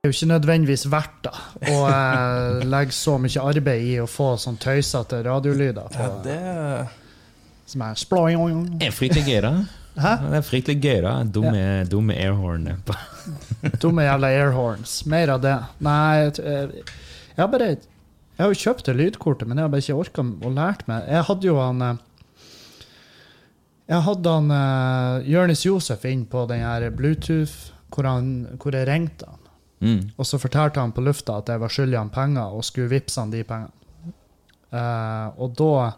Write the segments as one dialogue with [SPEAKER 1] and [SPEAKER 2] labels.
[SPEAKER 1] Det er jo ikke nødvendigvis verdt da, å eh, legge så mye arbeid i å få sånn tøysete radiolyder. På, eh,
[SPEAKER 2] Det
[SPEAKER 1] som er sploing.
[SPEAKER 3] Det er fryktelig gøy, da.
[SPEAKER 1] Hæ?
[SPEAKER 3] Det er fryktelig gøy, da. Dumme, dumme airhornet. på-
[SPEAKER 1] Dumme jævla airhorns. Mer av det. Nei, jeg t- jeg jeg har bare Jeg har jo kjøpt det lydkortet, men jeg har bare ikke orka å lært meg. Jeg hadde jo han eh, Jeg hadde han uh, Jonis Josef inn på den her Bluetooth, hvor, han, hvor jeg ringte han.
[SPEAKER 3] Mm.
[SPEAKER 1] Og så fortalte han på lufta at jeg var skyldig han penger, og skulle vippse han de pengene. Eh, og da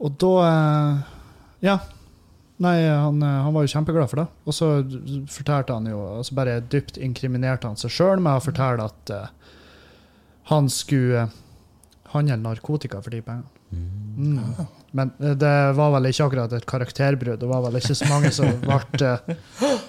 [SPEAKER 1] Og da eh, Ja. Nei, han, eh, han var jo kjempeglad for det. Og så fortalte han jo Og så bare dypt inkriminerte han seg sjøl med å fortelle at eh, han skulle eh, handle narkotika for de pengene. Mm. Men eh, det var vel ikke akkurat et karakterbrudd. Det var vel ikke så mange som ble, eh,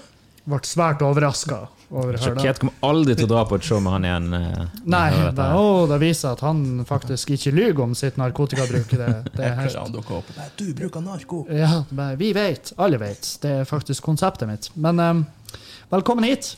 [SPEAKER 1] ble svært overraska over å høre det.
[SPEAKER 3] Sjokkert kommer aldri til å dra på et show med han igjen. eh, når jeg
[SPEAKER 1] Nei,
[SPEAKER 3] hører
[SPEAKER 1] det,
[SPEAKER 3] dette her.
[SPEAKER 1] å, det viser at han faktisk ikke lyver om sitt narkotikabruk. Det, det er
[SPEAKER 2] Kanskje
[SPEAKER 1] helt,
[SPEAKER 2] han dukker opp. Nei, du bruker narko.
[SPEAKER 1] ja, men vi vet, alle vet. Det er faktisk konseptet mitt. Men em, velkommen hit.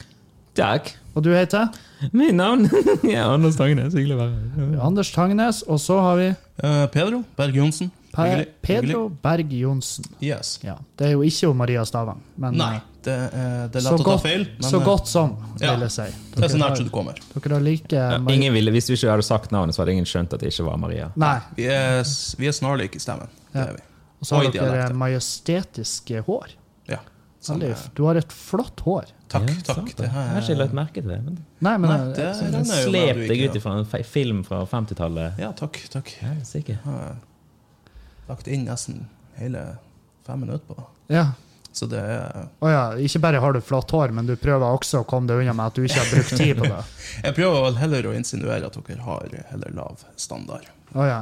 [SPEAKER 3] Takk.
[SPEAKER 1] Og du heter?
[SPEAKER 3] Mitt navn er Anders Tangnes. Hyggelig å være her.
[SPEAKER 1] Anders Tangnes. Og så har vi
[SPEAKER 2] Eh, Pedro Berg Johnsen.
[SPEAKER 1] per
[SPEAKER 2] Hyggelig, hyggelig.
[SPEAKER 1] Pedro Berg Johnsen.
[SPEAKER 2] Yes.
[SPEAKER 1] Ja, det er jo ikke jo Maria Stavang. Men
[SPEAKER 2] Nei,
[SPEAKER 1] eh,
[SPEAKER 2] det, er- det er
[SPEAKER 1] så,
[SPEAKER 2] lett å ta
[SPEAKER 1] godt,
[SPEAKER 2] feil, men
[SPEAKER 1] så
[SPEAKER 2] eh,
[SPEAKER 1] godt som,
[SPEAKER 2] ja.
[SPEAKER 1] vil jeg si.
[SPEAKER 2] det er så nært
[SPEAKER 1] har-
[SPEAKER 2] som du kommer.
[SPEAKER 1] dere har like
[SPEAKER 3] Ja,
[SPEAKER 1] Maria
[SPEAKER 3] Ingen ville, hvis du ikke hadde sagt navnet, så hadde ingen skjønt at det ikke var Maria.
[SPEAKER 1] Nei.
[SPEAKER 2] Vi er, s- vi er snarlike i stemmen. Det
[SPEAKER 1] Ja.
[SPEAKER 2] er vi.
[SPEAKER 1] Og så har
[SPEAKER 2] Oi,
[SPEAKER 1] dere
[SPEAKER 2] dialekter.
[SPEAKER 1] majestetiske hår.
[SPEAKER 2] Ja. Sånn,
[SPEAKER 1] Veldig,
[SPEAKER 2] eh,
[SPEAKER 1] du har et flott hår.
[SPEAKER 2] takk,
[SPEAKER 3] Ja,
[SPEAKER 2] takk.
[SPEAKER 3] sant
[SPEAKER 2] Det
[SPEAKER 3] Jeg har
[SPEAKER 2] her
[SPEAKER 3] ikke lagt merke til det. Men
[SPEAKER 1] Nei, men
[SPEAKER 2] Nei,
[SPEAKER 1] eh,
[SPEAKER 2] det-
[SPEAKER 3] så
[SPEAKER 2] den
[SPEAKER 3] den
[SPEAKER 2] er jo noe
[SPEAKER 3] slep
[SPEAKER 2] du
[SPEAKER 3] deg
[SPEAKER 2] ikke-
[SPEAKER 3] ut fra en fe- film fra 50-tallet.
[SPEAKER 2] Ja, takk, takk.
[SPEAKER 3] Ja, sikkert.
[SPEAKER 2] Jeg har lagt inn nesten hele fem minutter på det.
[SPEAKER 1] ja.
[SPEAKER 2] Så det er
[SPEAKER 1] Å ja, ikke bare har du flatt hår, men du prøver også å komme deg unna med at du ikke har brukt tid på det.
[SPEAKER 2] Jeg prøver vel heller å insinuere at dere har heller lav standard.
[SPEAKER 1] Å ja.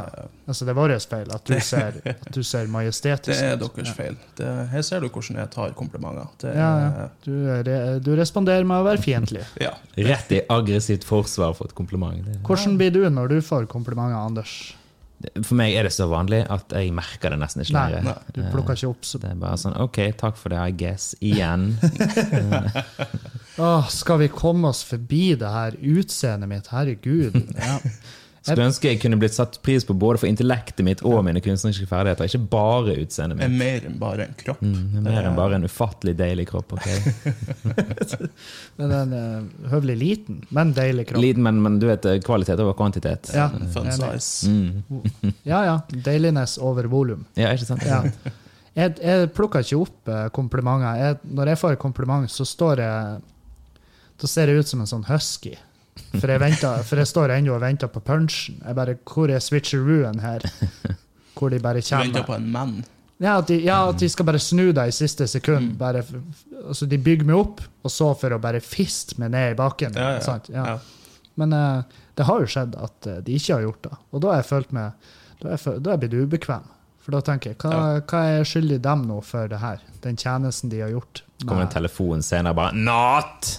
[SPEAKER 1] Altså, det er vår feil at du ser, at du ser
[SPEAKER 2] Det
[SPEAKER 1] majestetisk
[SPEAKER 2] er deres feil. Det, her ser du hvordan jeg tar komplimenter. Det er,
[SPEAKER 1] Ja, ja. Du, er- du responderer med å være fiendtlig.
[SPEAKER 2] ja.
[SPEAKER 3] Rett i aggressivt forsvar for et kompliment. Det-
[SPEAKER 1] Hvordan blir du når du får komplimenter, Anders?
[SPEAKER 3] Det- For meg er det så vanlig at jeg merker det nesten ikke
[SPEAKER 1] Nei,
[SPEAKER 3] lenger.
[SPEAKER 2] nei.
[SPEAKER 1] Du plukker ikke opp så
[SPEAKER 3] Eh, Det er bare sånn OK, takk for det, I guess. Igjen.
[SPEAKER 1] Åh, skal vi komme oss forbi det her utseendet mitt? Herregud. Ja.
[SPEAKER 3] Skulle ønske jeg kunne blitt satt pris på både for intellektet mitt og mine kunstneriske ferdigheter. Ikke bare utseendet
[SPEAKER 2] er
[SPEAKER 3] mitt.
[SPEAKER 2] mer enn bare en kropp.
[SPEAKER 3] Det Mm, er Mer enn bare en ufattelig deilig kropp. ok?
[SPEAKER 1] Men den er høvelig liten, men deilig kropp.
[SPEAKER 3] Liten, men, men du vet, eh, kvalitet over kvantitet. Mm.
[SPEAKER 1] Ja,
[SPEAKER 2] En Fun
[SPEAKER 1] enig. Mm.
[SPEAKER 2] size.
[SPEAKER 1] ja, ja. Deiliness over volum.
[SPEAKER 3] Ja, ikke sant?
[SPEAKER 1] Ja. Jeg, jeg plukker ikke opp eh, komplimenter. Jeg, når jeg får et kompliment, så står jeg Da ser jeg ut som en sånn husky. For jeg, venter, for jeg står ennå og venter på punchen. Jeg bare, Hvor er switcherooen her? Hvor de bare
[SPEAKER 2] Du
[SPEAKER 1] kommer.
[SPEAKER 2] venter på en mann.
[SPEAKER 1] Ja, at de, ja, at de skal bare snu deg i siste
[SPEAKER 2] Mm.
[SPEAKER 1] sekund. Bare, f- altså, de bygger meg opp, og så for å bare fiste meg ned i bakken.
[SPEAKER 2] Ja, ja,
[SPEAKER 1] Sant? Ja.
[SPEAKER 2] ja.
[SPEAKER 1] Men eh, det har jo skjedd at eh, de ikke har gjort det. Og da har jeg følt meg Da har jeg, føl- da har jeg blitt ubekvem. For da tenker jeg, hva, hva er jeg skyldig dem nå for det her? Den tjenesten de har gjort?
[SPEAKER 3] Så kommer
[SPEAKER 1] med-
[SPEAKER 3] det en telefon senere bare Not!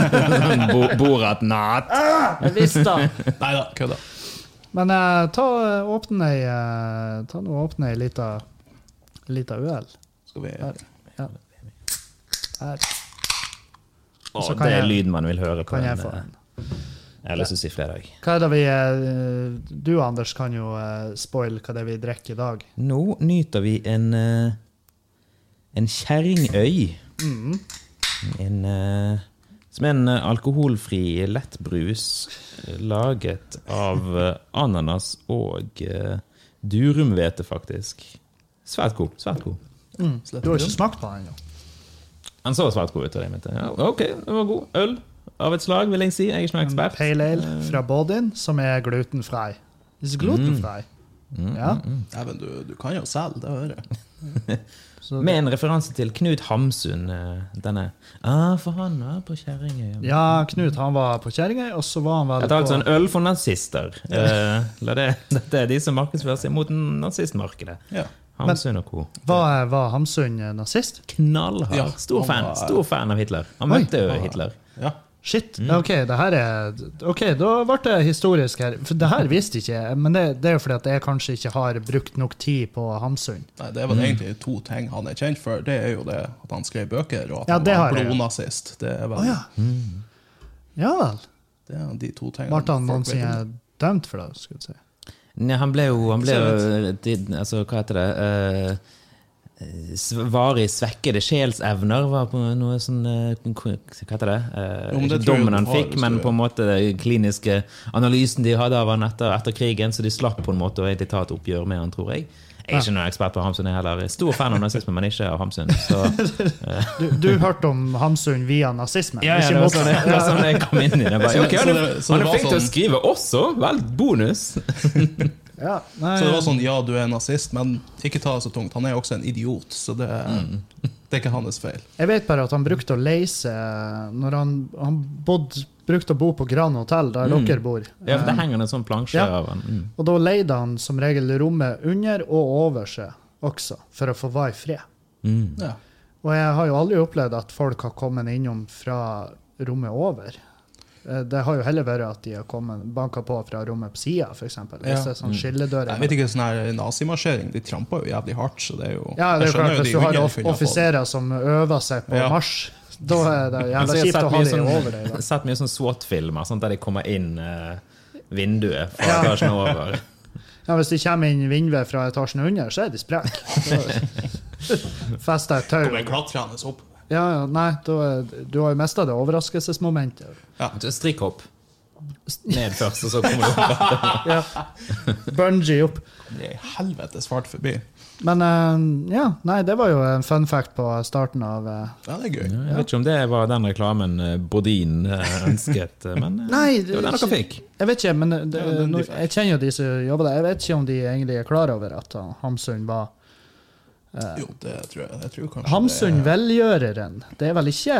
[SPEAKER 3] Bo, Borat not!
[SPEAKER 1] Jeg visste det!
[SPEAKER 2] Nei da, kødda.
[SPEAKER 1] Men eh, ta eh, åpne ei eh, Ta nå åpne ei lita Lita øl.
[SPEAKER 2] Skal vi
[SPEAKER 1] Her
[SPEAKER 3] Å,
[SPEAKER 1] så kan
[SPEAKER 3] det er
[SPEAKER 1] jeg-
[SPEAKER 3] lyden man vil høre på
[SPEAKER 1] kan jeg
[SPEAKER 3] en
[SPEAKER 1] få
[SPEAKER 3] eh,
[SPEAKER 1] en.
[SPEAKER 3] Eller så sier fredag.
[SPEAKER 1] Hva er det vi eh, Du, Anders, kan jo eh, spoil hva det er vi drikker i dag.
[SPEAKER 3] Nå nyter vi en eh, en kjerringøy.
[SPEAKER 1] Mm.
[SPEAKER 3] En eh, som er en eh, alkoholfri lettbrus eh, laget av eh, ananas og eh, durumhvete, faktisk. Svært god. svært god.
[SPEAKER 1] Du har ikke smakt på den ennå.
[SPEAKER 3] Han så svært god ut. og jeg mente, Ja, ok, den var god. Øl av et slag, vil jeg si. Jeg er ikke noen ekspert.
[SPEAKER 1] Pale ale fra Bodin, som er glutenfri. It's glutenfri. Ja.
[SPEAKER 2] Dæven, du, du kan jo selge, det hører jeg.
[SPEAKER 1] Så det-
[SPEAKER 3] Med en referanse til Knut Hamsun. eh, Denne ah, For han var på Kjerringøy.
[SPEAKER 1] Ja, Knut han var på Kjerringøy, og så var han vel
[SPEAKER 3] Jeg tar
[SPEAKER 1] på
[SPEAKER 3] altså en øl for nazister. Eh, la det, dette er de som markedsfører seg mot nazistmarkedet.
[SPEAKER 2] Ja.
[SPEAKER 3] Hamsun og co.
[SPEAKER 1] Var, var Hamsun eh, nazist?
[SPEAKER 3] Knallhard.
[SPEAKER 2] Ja,
[SPEAKER 3] stor,
[SPEAKER 2] han
[SPEAKER 3] fan,
[SPEAKER 2] var-
[SPEAKER 3] stor fan av Hitler. Han
[SPEAKER 1] Oi.
[SPEAKER 3] møtte jo Hitler.
[SPEAKER 2] ja.
[SPEAKER 1] Shit.
[SPEAKER 3] Mm.
[SPEAKER 1] ja, OK, det her er Ok, da ble det historisk her. For det her visste ikke jeg, men det, det er jo fordi at jeg kanskje ikke har brukt nok tid på Hamsun.
[SPEAKER 2] Nei, det er
[SPEAKER 1] Mm.
[SPEAKER 2] vel egentlig to ting han er kjent for. Det er jo det at han skrev bøker, og at
[SPEAKER 1] Ja,
[SPEAKER 2] han
[SPEAKER 1] det
[SPEAKER 2] var
[SPEAKER 1] har jeg, ja.
[SPEAKER 2] blodnazist. Det er vel
[SPEAKER 1] Å ja. Ja vel.
[SPEAKER 2] det er de to
[SPEAKER 1] Ble
[SPEAKER 2] tingene.
[SPEAKER 1] han
[SPEAKER 2] folk vet
[SPEAKER 1] noensinne
[SPEAKER 2] om.
[SPEAKER 1] dømt for det? skulle jeg si.
[SPEAKER 3] Nei, han ble jo, han ble jo tid- altså, Hva heter det? Eh, s- varig svekkede sjelsevner var på noe sånn eh, k- Hva heter det? Eh,
[SPEAKER 2] Jo, men det
[SPEAKER 3] ikke
[SPEAKER 2] tror jeg
[SPEAKER 3] dommen han
[SPEAKER 2] du har,
[SPEAKER 3] fikk, men
[SPEAKER 2] tror jeg.
[SPEAKER 3] på en måte den kliniske analysen de hadde av han etter, etter krigen, så de slapp på en måte å egentlig ta et oppgjør med han, tror jeg. Jeg er ikke noen ekspert på Hamsun, jeg heller. Jeg er Stor fan av nazisme, men ikke av Hamsun. Så,
[SPEAKER 1] Du, du hørte om Hamsun via nazismen?
[SPEAKER 3] ja, ja,
[SPEAKER 1] ikke
[SPEAKER 3] det var
[SPEAKER 1] mot-
[SPEAKER 3] sånn, det var sånn jeg kom inn i det. Jeg Bare,
[SPEAKER 2] Så-
[SPEAKER 3] ok,
[SPEAKER 2] så
[SPEAKER 3] han
[SPEAKER 2] det- så det
[SPEAKER 3] er
[SPEAKER 2] var
[SPEAKER 3] flink til å
[SPEAKER 2] sånn-
[SPEAKER 3] skrive også! Vel, bonus!
[SPEAKER 1] Ja, nei,
[SPEAKER 2] Så det var sånn Ja, du er nazist, men ikke ta det så tungt. Han er også en idiot, så det,
[SPEAKER 1] Mm.
[SPEAKER 2] det er ikke hans feil.
[SPEAKER 3] sånn-
[SPEAKER 1] Jeg vet bare at han brukte å leise eh, når han, han bodde, brukte å bo på Gran hotell, der dere bor.
[SPEAKER 3] Mm. Ja, for Det henger en sånn plansje
[SPEAKER 1] Ja.
[SPEAKER 3] av han. Mm.
[SPEAKER 1] Og da leide han som regel rommet under og over seg også, for å få være i fred.
[SPEAKER 3] Mm.
[SPEAKER 2] Ja.
[SPEAKER 1] Og jeg har jo aldri opplevd at folk har kommet innom fra rommet over. Eh, Det har jo heller vært at de har kommet banka på fra rommet på sida, f.eks. Hvis
[SPEAKER 2] Ja.
[SPEAKER 1] det er sånn
[SPEAKER 2] Mm. Jeg
[SPEAKER 1] skilledører.
[SPEAKER 2] vet ikke, sånn her nazimarsjering, de trampa jo jævlig hardt, så det er jo
[SPEAKER 1] Ja, det er
[SPEAKER 2] jeg
[SPEAKER 1] jo
[SPEAKER 2] skjønner
[SPEAKER 1] klart,
[SPEAKER 2] jo
[SPEAKER 1] hvis
[SPEAKER 2] de
[SPEAKER 1] du har
[SPEAKER 2] unge
[SPEAKER 1] off-
[SPEAKER 2] kunne ha fått-
[SPEAKER 1] offiserer som øver seg på
[SPEAKER 2] Ja.
[SPEAKER 1] marsj, da er det
[SPEAKER 3] Altså,
[SPEAKER 1] jævla
[SPEAKER 3] jeg
[SPEAKER 1] kjipt
[SPEAKER 3] har
[SPEAKER 1] å ha
[SPEAKER 3] sett
[SPEAKER 1] de
[SPEAKER 3] mye
[SPEAKER 1] over deg.
[SPEAKER 3] sånn-
[SPEAKER 1] da.
[SPEAKER 3] sett mye sånn SWAT-filmer, sånn, der de kommer inn eh, vinduet fra
[SPEAKER 1] Ja.
[SPEAKER 3] etasjen over.
[SPEAKER 1] Ja, hvis de kommer inn vinduet fra etasjen under, så er de sprek. Festa et tau.
[SPEAKER 2] Kommer en klatrende opp.
[SPEAKER 1] Ja, ja, nei, da, er- du har jo mista det overraskelsesmomentet.
[SPEAKER 3] Strikkhopp. Ned først, og så kommer du opp.
[SPEAKER 1] Ja. Bungee opp.
[SPEAKER 2] Det er helvetes fart forbi.
[SPEAKER 1] Men eh, ja, nei, det var jo en fun fact på starten av eh,
[SPEAKER 2] Ja, det er gøy.
[SPEAKER 3] Jeg vet ikke om det var den reklamen eh, Bodin eh, ønsket, eh, men eh,
[SPEAKER 1] Nei,
[SPEAKER 3] det var den dere fikk.
[SPEAKER 1] Jeg vet ikke, men det,
[SPEAKER 2] Ja, den de
[SPEAKER 1] nå-
[SPEAKER 2] fikk.
[SPEAKER 1] jeg kjenner jo de som jobber der. Jeg vet ikke om de egentlig er klar over at han- Hamsun var
[SPEAKER 2] Jo, det tror jeg. jeg tror kanskje
[SPEAKER 1] Hamsun
[SPEAKER 2] det,
[SPEAKER 1] velgjøreren. Det er vel ikke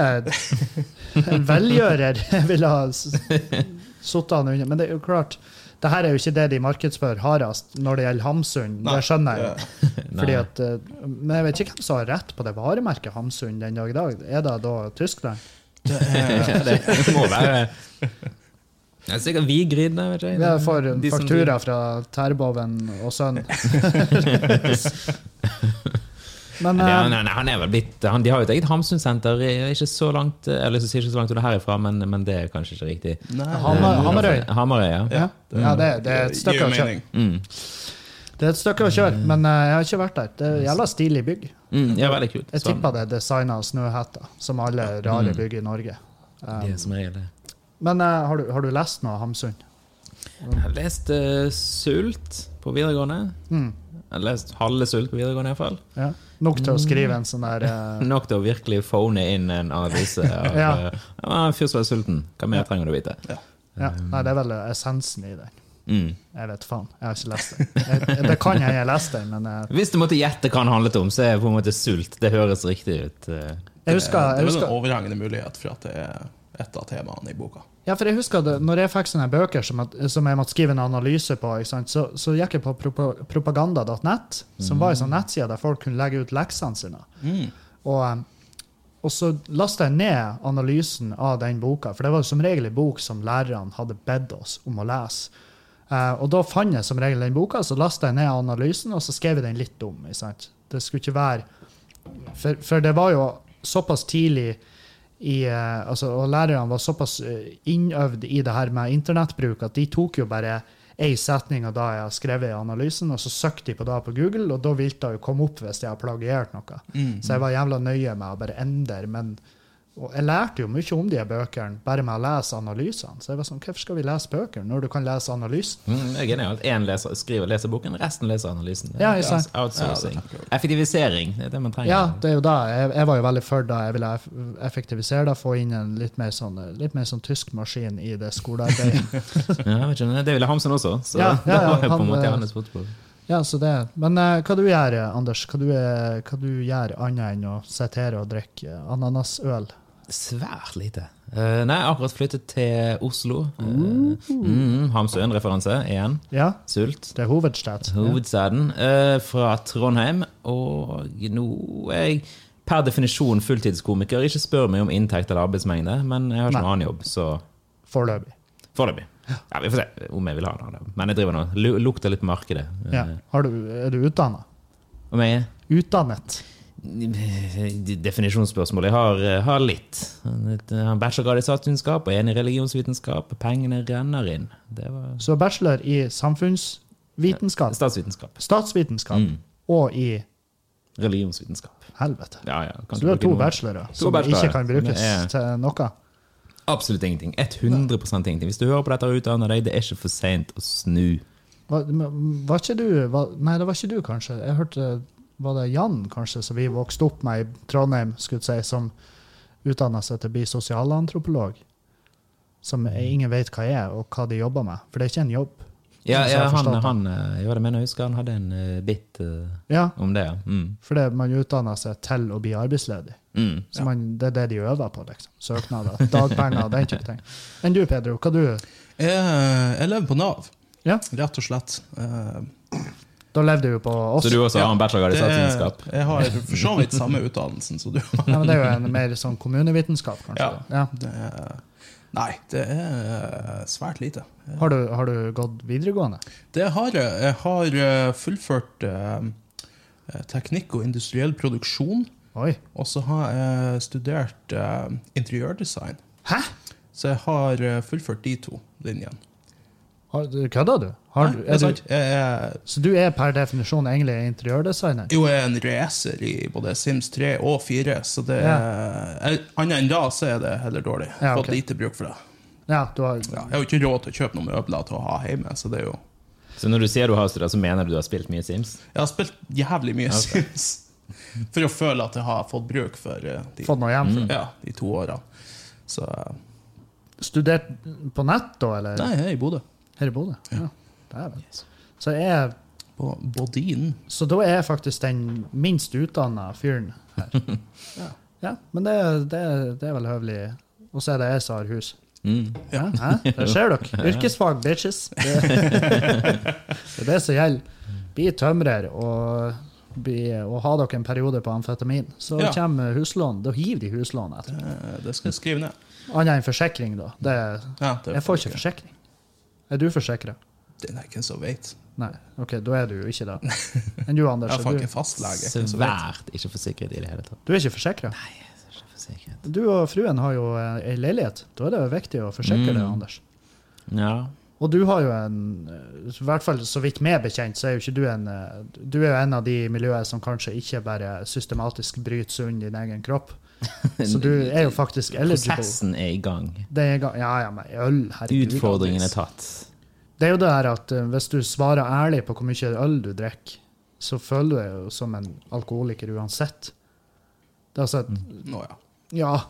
[SPEAKER 1] en velgjører jeg ville ha s- sittet han under. Men det er jo klart, det her er jo ikke det de markedsfører hardest når det gjelder Hamsun.
[SPEAKER 2] Nei,
[SPEAKER 1] det skjønner jeg.
[SPEAKER 2] det-
[SPEAKER 1] jo.
[SPEAKER 3] Nei.
[SPEAKER 1] Fordi at, eh, men jeg vet ikke hvem som har rett på det varemerket Hamsun den dag i dag. Er det da Tyskland?
[SPEAKER 3] Ja, det må være det er sikkert Vigrid, da. vet jeg.
[SPEAKER 1] Vi får
[SPEAKER 3] De som-
[SPEAKER 1] eh, faktura fra Terboven og sønn. Men
[SPEAKER 3] Nei,
[SPEAKER 1] eh,
[SPEAKER 3] han, han, han er vel blitt han, De har jo et eget Hamsun-senter. eh, Ikke så langt eh, Jeg har lyst til å si ikke så langt under herifra, men, men det er kanskje ikke riktig.
[SPEAKER 2] Nei,
[SPEAKER 1] Hamar-
[SPEAKER 3] Eh,
[SPEAKER 1] Hamarøy.
[SPEAKER 3] Hamarøy, ja.
[SPEAKER 1] ja, ja, det, det er et
[SPEAKER 2] gir
[SPEAKER 1] stykke
[SPEAKER 2] jo
[SPEAKER 1] å kjøre.
[SPEAKER 2] mening.
[SPEAKER 3] Mm.
[SPEAKER 1] Det er et stykke å kjøre, men eh, jeg har ikke vært der. Det er jævla stilig bygg.
[SPEAKER 3] Mm, ja, veldig kult.
[SPEAKER 1] Jeg
[SPEAKER 3] Så-
[SPEAKER 1] tipper det er designa av snøhetta, som alle rare bygg i Norge. Um,
[SPEAKER 3] Det er som regel det.
[SPEAKER 1] Men eh, har, du, har du lest noe Hamsun?
[SPEAKER 3] Jeg har lest eh, Sult på videregående.
[SPEAKER 1] Mm.
[SPEAKER 3] Jeg har lest halve Sult på videregående, iallfall.
[SPEAKER 1] Ja. Nok til å skrive en sånn der eh,
[SPEAKER 3] Nok til å virkelig phone inn en analyse av
[SPEAKER 1] Ja.
[SPEAKER 3] eh, «Ah, en fyr som er sulten. Hva mer trenger du vite?
[SPEAKER 1] ja. Nei, det er vel essensen i den.
[SPEAKER 3] Mm.
[SPEAKER 1] Jeg vet faen. Jeg har ikke lest den. Jeg, det kan hende jeg leste den, men eh,
[SPEAKER 3] Hvis du måtte gjette hva han handlet om, så er på en måte sult. Det høres riktig ut. eh.
[SPEAKER 1] jeg husker,
[SPEAKER 2] det
[SPEAKER 1] jeg
[SPEAKER 2] er vel en
[SPEAKER 1] husker
[SPEAKER 2] overhengende mulighet for at det er et av temaene i boka.
[SPEAKER 1] Ja, for jeg husker det, når jeg fikk sånne bøker som, at, som jeg måtte skrive en analyse på, ikke sant? Så, så gikk jeg på propa- propaganda.net, som var en sånn nettside der folk kunne legge ut leksene sine. Og, eh, og så lasta jeg ned analysen av den boka, for det var som regel en bok som lærerne hadde bedt oss om å lese. Eh, og da fant jeg som regel den boka, så lasta jeg ned analysen, og så skrev jeg den litt om. Ikke sant? Det skulle ikke være For, for det var jo såpass tidlig i, eh, altså, og lærerne var såpass eh, innøvd i det her med internettbruk at de tok jo bare ei setning av det jeg har skrevet i analysen, og så søkte de på det på Google, og da ville det jo komme opp hvis jeg har plagiert noe. Så jeg var jævla nøye med å bare endre. Men og jeg lærte jo mye om de her bøkene bare med å lese analysene. Så jeg var sånn, hvorfor skal vi lese bøker når du kan lese analysen?
[SPEAKER 3] Mm, det er genialt. Én leser, skriver leseboken, resten leser analysen.
[SPEAKER 1] Ja, jeg sa-
[SPEAKER 3] Outsourcing.
[SPEAKER 2] Ja, det tenker jeg.
[SPEAKER 3] Effektivisering. Det er det man trenger.
[SPEAKER 1] Ja, det er jo det. Jeg, jeg var jo veldig for det. Jeg ville eff- effektivisere det, få inn en litt mer sånn, litt mer sånn tysk maskin i det skolearbeidet.
[SPEAKER 3] Ja, jeg vet ikke, men det ville Hamsun også, så
[SPEAKER 1] Ja, ja, ja,
[SPEAKER 3] det var jo på
[SPEAKER 1] han,
[SPEAKER 3] en måte
[SPEAKER 1] eh,
[SPEAKER 3] hans fotball.
[SPEAKER 1] Ja, så det. Men eh, hva du gjør, eh, Anders? Hva du, eh, hva du gjør annet enn å sitte her og drikke eh, ananasøl?
[SPEAKER 3] Svært lite. Eh, nei, akkurat flyttet til Oslo. Uh, mm, Hamsøen-referanse igjen.
[SPEAKER 1] Ja,
[SPEAKER 3] Sult.
[SPEAKER 1] det er hovedstad.
[SPEAKER 3] Hovedstaden. eh, fra Trondheim. Og nå er jeg per definisjon fulltidskomiker. Ikke spør meg om inntekt eller arbeidsmengde, men jeg har ikke
[SPEAKER 1] Nei.
[SPEAKER 3] noen annen jobb, så
[SPEAKER 1] Foreløpig.
[SPEAKER 3] foreløpig. Ja, vi får se om jeg vil ha noe. av det. Men jeg driver nå lu- lukter litt på markedet. Eh,
[SPEAKER 1] Ja. Har du, er du utdanna?
[SPEAKER 3] Om jeg
[SPEAKER 1] Utdannet?
[SPEAKER 3] Definisjonsspørsmål. Jeg har, eh, har litt. Jeg har eh, bachelorgrad i statsvitenskap og en i religionsvitenskap. Pengene renner inn. Det var
[SPEAKER 1] Så bachelor i samfunnsvitenskap,
[SPEAKER 3] statsvitenskap.
[SPEAKER 1] statsvitenskap
[SPEAKER 3] Mm.
[SPEAKER 1] og i
[SPEAKER 3] Religionsvitenskap.
[SPEAKER 1] helvete.
[SPEAKER 3] Ja, ja. kan
[SPEAKER 1] Så
[SPEAKER 3] ikke
[SPEAKER 1] du har
[SPEAKER 3] bruke
[SPEAKER 1] to
[SPEAKER 3] noe-
[SPEAKER 1] bachelorer
[SPEAKER 3] To
[SPEAKER 1] som
[SPEAKER 3] bachelorer. eh,
[SPEAKER 1] ikke kan brukes
[SPEAKER 3] Ja.
[SPEAKER 1] til noe.
[SPEAKER 3] Absolutt ingenting. 100 ingenting. Hvis du hører på dette og utdanner deg, det er ikke for seint å snu.
[SPEAKER 1] Var, men var ikke du var, Nei, det var ikke du, kanskje. Jeg hørte Var det Jan, kanskje, som vi vokste opp med i Trondheim, skulle jeg si, som utdanna seg til å bli sosialantropolog? Som
[SPEAKER 3] Mm.
[SPEAKER 1] ingen vet hva er, og hva de jobber med. For det er ikke en jobb.
[SPEAKER 3] Ja,
[SPEAKER 1] Sånn som
[SPEAKER 3] ja
[SPEAKER 1] jeg
[SPEAKER 3] han,
[SPEAKER 1] forstår det.
[SPEAKER 3] han, eh, ja, det mener jeg husker han hadde en eh, bit eh,
[SPEAKER 1] Ja,
[SPEAKER 3] om det. ja. Mm.
[SPEAKER 1] for det, man utdanner seg til å bli arbeidsledig.
[SPEAKER 3] Mm.
[SPEAKER 1] Så man, det er det de øver på, liksom. Søknader, dagpenger, den type ting. Enn du, Pedro, hva du
[SPEAKER 2] Jeg, jeg lever på Nav,
[SPEAKER 1] Ja,
[SPEAKER 2] rett og slett. Eh,
[SPEAKER 1] da levde du på oss.
[SPEAKER 3] Så du også
[SPEAKER 2] Ja,
[SPEAKER 3] har en bachelorgrad i
[SPEAKER 2] det er-
[SPEAKER 3] statsvitenskap?
[SPEAKER 2] Jeg har for så vidt samme utdannelsen, så du
[SPEAKER 1] Ja, men det er jo en mer sånn kommunevitenskap, kanskje. Ja.
[SPEAKER 2] det er, Nei, det er eh, svært lite.
[SPEAKER 1] Har, du, har du gått videregående?
[SPEAKER 2] Det har jeg. Jeg har eh, fullført eh, teknikk og industriell produksjon.
[SPEAKER 1] Oi.
[SPEAKER 2] Og så har jeg studert eh, interiørdesign.
[SPEAKER 1] Hæ?
[SPEAKER 2] Så jeg har eh, fullført de to linjene.
[SPEAKER 1] Har du, kødder du? Har
[SPEAKER 2] Nei,
[SPEAKER 1] du,
[SPEAKER 2] det
[SPEAKER 1] er
[SPEAKER 2] er sant.
[SPEAKER 1] du?
[SPEAKER 2] Jeg er,
[SPEAKER 1] Så du er per definisjon egentlig interiørdesigner?
[SPEAKER 2] jo, jeg er en racer i både Sims 3 og 4, så det
[SPEAKER 1] Ja.
[SPEAKER 2] er, annet enn da så er det heller dårlig. Jeg
[SPEAKER 1] Ja,
[SPEAKER 2] har
[SPEAKER 1] ok.
[SPEAKER 2] Fått lite bruk for det.
[SPEAKER 1] Ja, du har,
[SPEAKER 2] Ja, jeg har jo ikke råd til å kjøpe noen møbler til å ha hjemme, så det er jo
[SPEAKER 3] Så når du sier du har studert, så mener du du har spilt mye Sims?
[SPEAKER 2] Jeg har spilt jævlig mye Sims for å føle at jeg har fått bruk for eh, de,
[SPEAKER 1] fått noe hjem?
[SPEAKER 2] ja, de to årene. Så eh,
[SPEAKER 1] Studert på nett, da? Eller
[SPEAKER 2] Nei, jeg er i Bodø.
[SPEAKER 1] her i Bodø? Ja. Dæven. Så, jeg er-
[SPEAKER 2] På Bodin.
[SPEAKER 1] så da er jeg faktisk den minst utdanna fyren her. Ja. ja men det, er- det, er- det er vel høvelig. Og så er det jeg som har hus.
[SPEAKER 3] Mm.
[SPEAKER 1] Ja, hæ? Der ser dere. Yrkesfag, bitches. Det det er det som gjelder. Bli tømrer og, bli, og ha dere en periode på amfetamin. Så
[SPEAKER 2] Ja.
[SPEAKER 1] kommer huslån. Da hiver de huslån etter.
[SPEAKER 2] Eh, Det skal jeg skrive ned.
[SPEAKER 1] Annet enn forsikring, da. Det,
[SPEAKER 2] Ja, det
[SPEAKER 1] jeg får ikke forsikring. Er du forsikra?
[SPEAKER 2] Det er ikke en som vet.
[SPEAKER 1] Nei. OK, da er du jo ikke det. Enn du, Anders?
[SPEAKER 2] Jeg
[SPEAKER 1] er
[SPEAKER 2] får ikke
[SPEAKER 1] du,
[SPEAKER 2] fastlege. ikke en som vet.
[SPEAKER 3] Svært ikke forsikret i det hele tatt.
[SPEAKER 1] du er ikke forsikra?
[SPEAKER 3] Ikke forsikret.
[SPEAKER 1] Du og fruen har jo eh, ei leilighet. Da er det jo viktig å forsikre det,
[SPEAKER 3] Mm.
[SPEAKER 1] Anders.
[SPEAKER 3] Ja. og
[SPEAKER 1] Og du har jo en eh, I hvert fall så vidt meg bekjent, så er jo ikke du en eh, Du er jo en av de i miljøet som kanskje ikke bare systematisk bryter seg unna din egen kropp. Så du er jo faktisk eligible.
[SPEAKER 3] Prosessen er i gang.
[SPEAKER 1] Det er, ga- ja, ja, men øl, herregud.
[SPEAKER 3] Utfordringen er
[SPEAKER 1] Anders.
[SPEAKER 3] tatt.
[SPEAKER 1] Det er jo det her at eh, hvis du svarer ærlig på hvor mye øl du drikker, så føler du deg jo som en alkoholiker uansett. Det er altså
[SPEAKER 3] Mm.
[SPEAKER 1] et
[SPEAKER 2] Nå, ja.
[SPEAKER 1] Ja.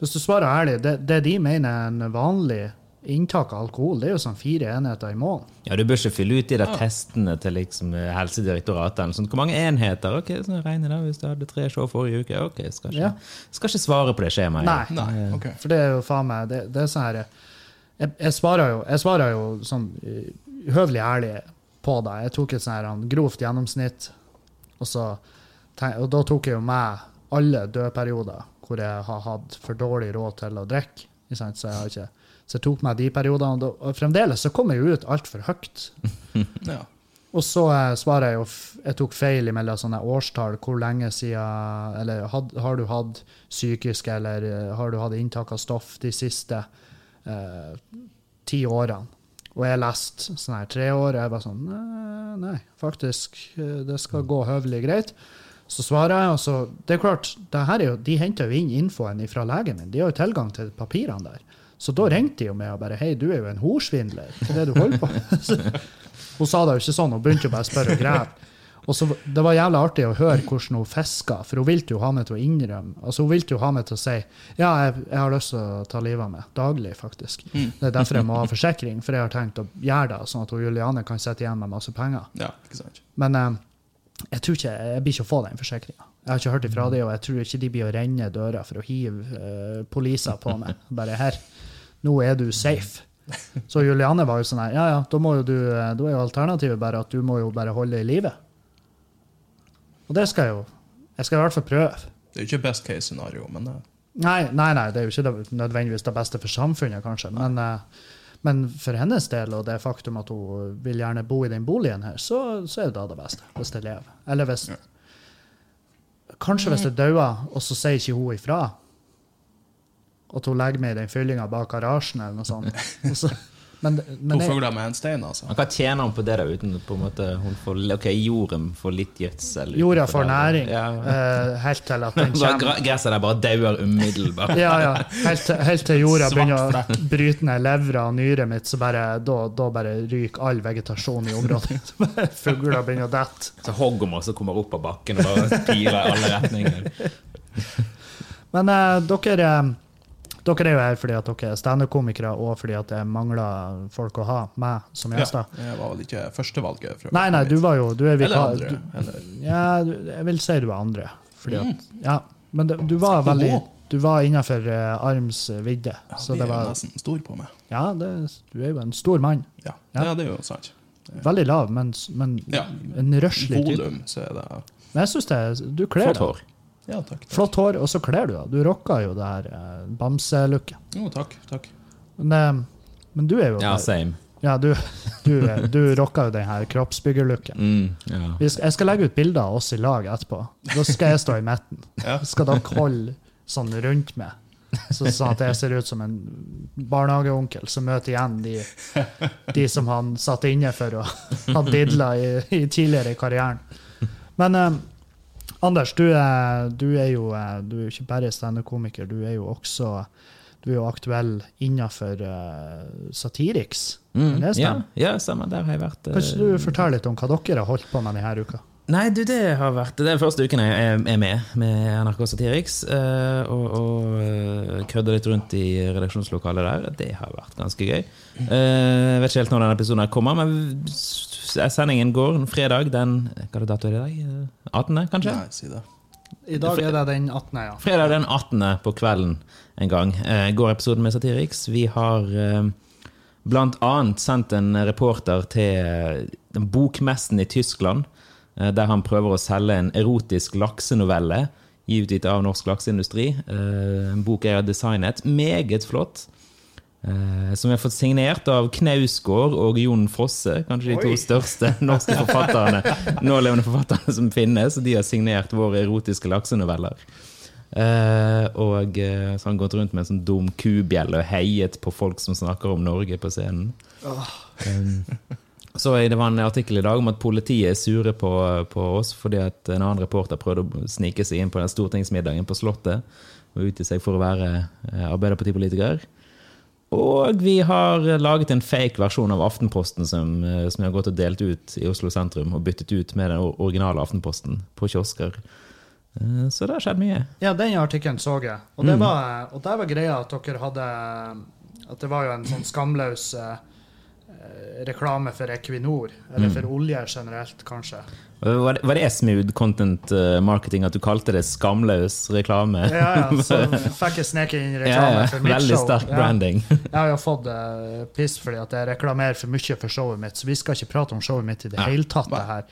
[SPEAKER 1] Hvis du svarer ærlig, det, det de mener er en vanlig inntak av alkohol, det er jo sånn fire enheter i måneden.
[SPEAKER 3] Ja, Du bør ikke fylle ut de der testene til liksom eh, Helsedirektoratet. eller sånt. Hvor mange enheter? Ok, så regner det hvis du hadde tre show forrige uke. Ok, Skal ikke,
[SPEAKER 1] Ja.
[SPEAKER 3] skal ikke svare på det skjemaet.
[SPEAKER 1] Nei.
[SPEAKER 2] Nei, ok.
[SPEAKER 1] For det er jo faen meg Det, det er sånn her jeg, jeg svarer jo, jeg svarer jo sånn eh, høvelig ærlig på det. Jeg tok et sånn her han, grovt gjennomsnitt, og, så, tenk- og da tok jeg jo med alle dødperioder hvor jeg har hatt for dårlig råd til å drikke. ikke sant? Så jeg har ikke så jeg tok med de periodene. og da- Og fremdeles så kom jeg jo ut altfor høyt.
[SPEAKER 2] Ja.
[SPEAKER 1] Og så eh, svarer jeg jo f- Jeg tok feil mellom sånne årstall. Hvor lenge siden Eller had, har du hatt psykiske, eller eh, har du hatt inntak av stoff de siste eh, ti årene? Og jeg leste sånn her tre år, og jeg bare sånn Nei, nei faktisk, eh, det skal gå høvelig greit. Så svarer jeg, og så Det er klart, det her er jo, de henter jo inn infoen fra legen min. De har jo tilgang til papirene der. Så da ringte de jo meg og bare Hei, du er jo en horsvindler. Hva er det du holder på med? Hun sa det jo ikke sånn, hun begynte jo bare å spørre og grave. Og så, det var jævlig artig å høre hvordan hun fiska, for hun ville jo ha meg til å innrømme. Altså, hun ville jo ha meg til å si ja, jeg, jeg har lyst til å ta livet av meg. Daglig, faktisk. Det er derfor jeg må ha forsikring, for jeg har tenkt å gjøre det, sånn at hun Juliane kan sitte igjen med masse penger.
[SPEAKER 2] Ja, ikke sant?
[SPEAKER 1] Men eh, jeg tror ikke, jeg blir ikke å få den forsikringa. Jeg har ikke hørt ifra dem, og jeg tror ikke de blir å renne døra for å hive uh, poliser på meg. Bare her. Nå er du safe. Så Juliane var jo sånn her, ja ja, da, må jo du, eh, da er jo alternativet bare at du må jo bare holde i live. Og det skal jeg jo. Jeg skal i hvert fall prøve.
[SPEAKER 2] Det er jo ikke best case scenario, men eh,
[SPEAKER 1] Nei, nei, nei, det er jo ikke det, nødvendigvis det beste for samfunnet, kanskje, men, eh, men for hennes del og det faktum at hun vil gjerne bo i den boligen her, så, så er det da det beste, hvis det lever. Eller hvis Kanskje hvis det dauer, og så sier ikke hun ifra. At hun legger meg i den fyllinga bak garasjen eller noe sånt. Og så, men,
[SPEAKER 2] to
[SPEAKER 1] men jeg,
[SPEAKER 2] fugler med en stein, altså.
[SPEAKER 3] Men Hva tjener hun på det, da? uten på en måte hun får, Ok, jorden får litt gjødsel. utenfor
[SPEAKER 1] jorda
[SPEAKER 3] der.
[SPEAKER 1] får næring
[SPEAKER 3] Ja.
[SPEAKER 1] eh, helt til at den
[SPEAKER 3] Bare
[SPEAKER 1] kommer
[SPEAKER 3] gra- Gresset der bare dauer umiddelbart.
[SPEAKER 1] Ja, ja. Helt, til- helt til jorda
[SPEAKER 3] Svart
[SPEAKER 1] begynner å bryte ned levra og nyret mitt, så bare, da, da bare ryker all vegetasjon i området. Så bare Fugler begynner å dette.
[SPEAKER 3] Så hoggorm også kommer opp av bakken og bare piler i alle retninger.
[SPEAKER 1] Men eh, dere, eh, dere er jo her fordi at dere er standup-komikere, og fordi at det mangler folk å ha meg som
[SPEAKER 2] Ja,
[SPEAKER 1] gjester.
[SPEAKER 2] det var vel ikke førstevalget. for å
[SPEAKER 1] Nei,
[SPEAKER 2] komme
[SPEAKER 1] nei,
[SPEAKER 2] hit.
[SPEAKER 1] du var jo Du er
[SPEAKER 2] Eller
[SPEAKER 1] vikar.
[SPEAKER 2] andre.
[SPEAKER 1] du-
[SPEAKER 2] Eller,
[SPEAKER 1] Ja, du- jeg vil si du er andre. Fordi at,
[SPEAKER 2] Mm.
[SPEAKER 1] ja. Men det, du var veldig Du var innafor arms vidde.
[SPEAKER 2] ja,
[SPEAKER 1] Så
[SPEAKER 2] de
[SPEAKER 1] det
[SPEAKER 2] er jo
[SPEAKER 1] var
[SPEAKER 2] nesten stor på meg.
[SPEAKER 1] Ja, det, du er jo en stor mann.
[SPEAKER 2] Ja,
[SPEAKER 1] Ja.
[SPEAKER 2] ja. det er jo sant.
[SPEAKER 1] Veldig lav, men, men
[SPEAKER 2] Ja.
[SPEAKER 1] en røslig type.
[SPEAKER 2] Volum, så er det
[SPEAKER 1] Men jeg syns det er- Du kler
[SPEAKER 3] Flott
[SPEAKER 1] det.
[SPEAKER 3] hår.
[SPEAKER 2] Ja, takk. takk.
[SPEAKER 1] Flott hår, og så kler du det. Du rocker jo det her eh, bamselooket.
[SPEAKER 2] Jo, takk. takk.
[SPEAKER 1] Men, eh, men du er jo
[SPEAKER 3] Ja, same.
[SPEAKER 1] Ja, du, du, er- du rocker jo den her kroppsbyggerlooken.
[SPEAKER 3] Mm, ja.
[SPEAKER 1] Vi skal- Jeg skal legge ut bilder av oss i lag etterpå. Da skal jeg stå i midten.
[SPEAKER 2] Ja.
[SPEAKER 1] Skal dere holde sånn rundt meg, så, sånn at jeg ser ut som en barnehageonkel som møter igjen de, de som han satt inne for og hadde didla i, i tidligere i karrieren. Men eh, Anders, du er, du er jo eh, du er jo ikke bare standup-komiker, du er jo også du er jo aktuell innafor eh, Satiriks.
[SPEAKER 3] Mm,
[SPEAKER 1] Men det
[SPEAKER 3] ja,
[SPEAKER 1] stemmer.
[SPEAKER 3] ja, stemmer. Der har jeg vært. eh,
[SPEAKER 1] Kan ikke du fortelle litt om hva dere har holdt på med denne uka?
[SPEAKER 3] Nei, du, det har vært Det er den første uken jeg er er med med NRK Satiriks. eh, og og eh, kødder litt rundt i redaksjonslokalet der. Det har vært ganske gøy. Eh, jeg vet ikke helt når denne episoden her kommer, men s- sendingen går en fredag den Hva er det dato er det i dag? Eh, 18., kanskje?
[SPEAKER 2] Nei, si det.
[SPEAKER 1] I dag er det den 18., ja.
[SPEAKER 3] Fredag den 18. på kvelden en gang eh, går episoden med Satiriks. Vi har eh, blant annet sendt en reporter til eh, den bokmessen i Tyskland, eh, der han prøver å selge en erotisk laksenovelle utgitt av Norsk Lakseindustri. Eh, en bok jeg har designet. Meget flott. Eh, som jeg har fått signert av Knausgård og Jon Fosse. Kanskje de to største norske forfatterne nålevende forfatterne som finnes. De har signert våre erotiske laksenoveller. Eh, og eh, så har han gått rundt med en sånn dum kubjelle og heiet på folk som snakker om Norge på scenen. Um, så jeg- Det var en artikkel i dag om at politiet er sure på, på oss fordi at en annen reporter prøvde å snike seg inn på den stortingsmiddagen på Slottet og utgi seg for å være eh, arbeiderpartipolitiker. Og vi har laget en fake versjon av Aftenposten som, eh, som jeg har gått og delt ut i Oslo sentrum, og byttet ut med den or- originale Aftenposten på kiosker. Eh, Så det har skjedd mye.
[SPEAKER 1] Ja, den artikkelen så jeg. Og, det var, og der var greia at dere hadde At det var jo en sånn skamløs eh, eh, reklame for Equinor, eller for olje generelt, kanskje.
[SPEAKER 3] Var det, var det smooth content eh, marketing at du kalte det skamløs reklame?
[SPEAKER 1] Ja, ja, så fikk jeg sneket inn
[SPEAKER 3] Ja,
[SPEAKER 1] reklame
[SPEAKER 3] ja,
[SPEAKER 1] for mitt
[SPEAKER 3] Veldig
[SPEAKER 1] show.
[SPEAKER 3] sterk branding.
[SPEAKER 1] Ja, jeg har jo fått eh, piss fordi at jeg reklamerer for mye for showet mitt, så vi skal ikke prate om showet mitt i det
[SPEAKER 3] Nei.
[SPEAKER 1] hele tatt, det her.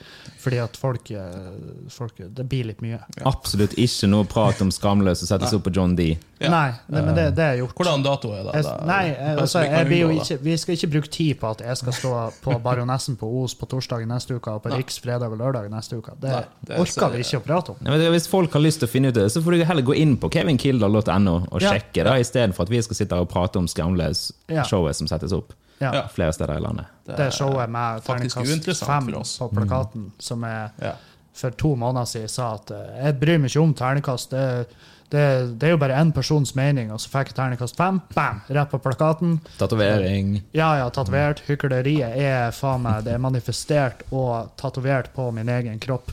[SPEAKER 1] Fordi at folk, eh, folk Det blir litt mye.
[SPEAKER 3] Absolutt ikke noe prat om skamløs og settes opp på John D.
[SPEAKER 2] Ja.
[SPEAKER 1] Nei, nei, men det, det er gjort.
[SPEAKER 2] Hvordan dato er det?
[SPEAKER 1] Jeg,
[SPEAKER 2] da?
[SPEAKER 1] nei, jeg, altså,
[SPEAKER 2] vi kan
[SPEAKER 1] jeg vil jo
[SPEAKER 2] unngå det.
[SPEAKER 1] ikke, vi skal ikke bruke tid på at jeg skal stå på Baronessen på Os på torsdag neste uke og på Riks fredag og lørdag neste uke. Det,
[SPEAKER 2] Nei, det ser
[SPEAKER 1] orker vi
[SPEAKER 2] jeg.
[SPEAKER 1] ikke å prate om.
[SPEAKER 3] Nei, men Hvis folk har lyst til å finne ut det, så får du heller gå inn på kevinkilder.no og
[SPEAKER 1] Ja.
[SPEAKER 3] sjekke, da, istedenfor at vi skal sitte her og prate om
[SPEAKER 1] Ja.
[SPEAKER 3] skamløs-showet som settes opp
[SPEAKER 1] Ja,
[SPEAKER 2] Ja.
[SPEAKER 3] flere steder i landet.
[SPEAKER 1] det showet med
[SPEAKER 2] faktisk
[SPEAKER 1] terningkast
[SPEAKER 2] uinteressant
[SPEAKER 1] fem
[SPEAKER 2] for oss. Mm.
[SPEAKER 1] på plakaten, som er
[SPEAKER 2] Ja.
[SPEAKER 1] for to måneder siden sa at eh, jeg bryr meg ikke om ternekast, det, det, det er jo bare én persons mening, og så fikk jeg ternekast fem, bam, rett på plakaten.
[SPEAKER 4] Tatovering.
[SPEAKER 1] Ja, ja, tatovert. Hykleriet er faen meg det er manifestert og tatovert på min egen kropp.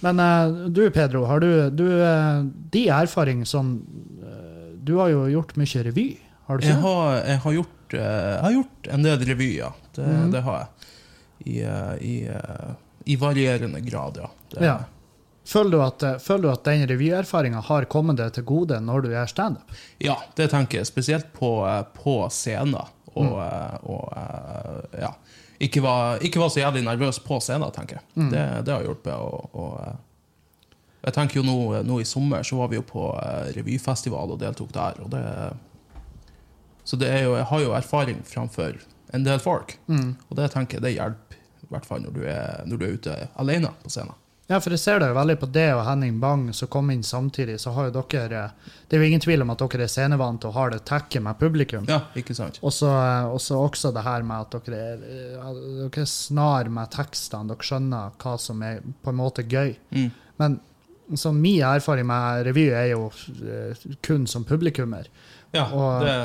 [SPEAKER 1] Men eh, du, Pedro, har du, du eh, De erfaring som eh, Du har jo gjort mye revy, har du
[SPEAKER 2] Jeg
[SPEAKER 1] ikke?
[SPEAKER 2] har, jeg har, gjort, eh, jeg har gjort en del revyer. Det,
[SPEAKER 1] Mhm.
[SPEAKER 2] det har jeg. I, eh, i, eh, I varierende grad, ja. Det,
[SPEAKER 1] Ja. Føler du at, eh, føler du at den revyerfaringa har kommet deg til gode når du gjør standup?
[SPEAKER 2] Ja, det tenker jeg. Spesielt på, eh, på scener. Og,
[SPEAKER 1] Mm.
[SPEAKER 2] eh, og eh, ja. Ikke var, ikke var så jævlig nervøs på scenen, tenker jeg.
[SPEAKER 1] Mm.
[SPEAKER 2] Det, det har hjulpet. Og, og, eh, jeg tenker jo nå, nå i sommer så var vi jo på eh, revyfestival og deltok der. Og det, så det er jo, jeg har jo erfaring framfor en del folk.
[SPEAKER 1] Mm.
[SPEAKER 2] Og det tenker jeg det hjelper, i hvert fall når du er, når du er ute alene på scenen.
[SPEAKER 1] Ja, for jeg ser det jo veldig på det og Henning Bang som kom inn samtidig, så har jo dere eh, Det er jo ingen tvil om at dere er scenevant og har det tekket med publikum.
[SPEAKER 2] Ja, ikke sant?
[SPEAKER 1] Og så og så også det her med at dere er, at dere er snar med tekstene. Dere skjønner hva som er på en måte gøy.
[SPEAKER 2] Mm.
[SPEAKER 1] Men så min erfaring med revy er jo eh, kun som publikummer.
[SPEAKER 2] Ja,
[SPEAKER 1] Og-
[SPEAKER 2] det,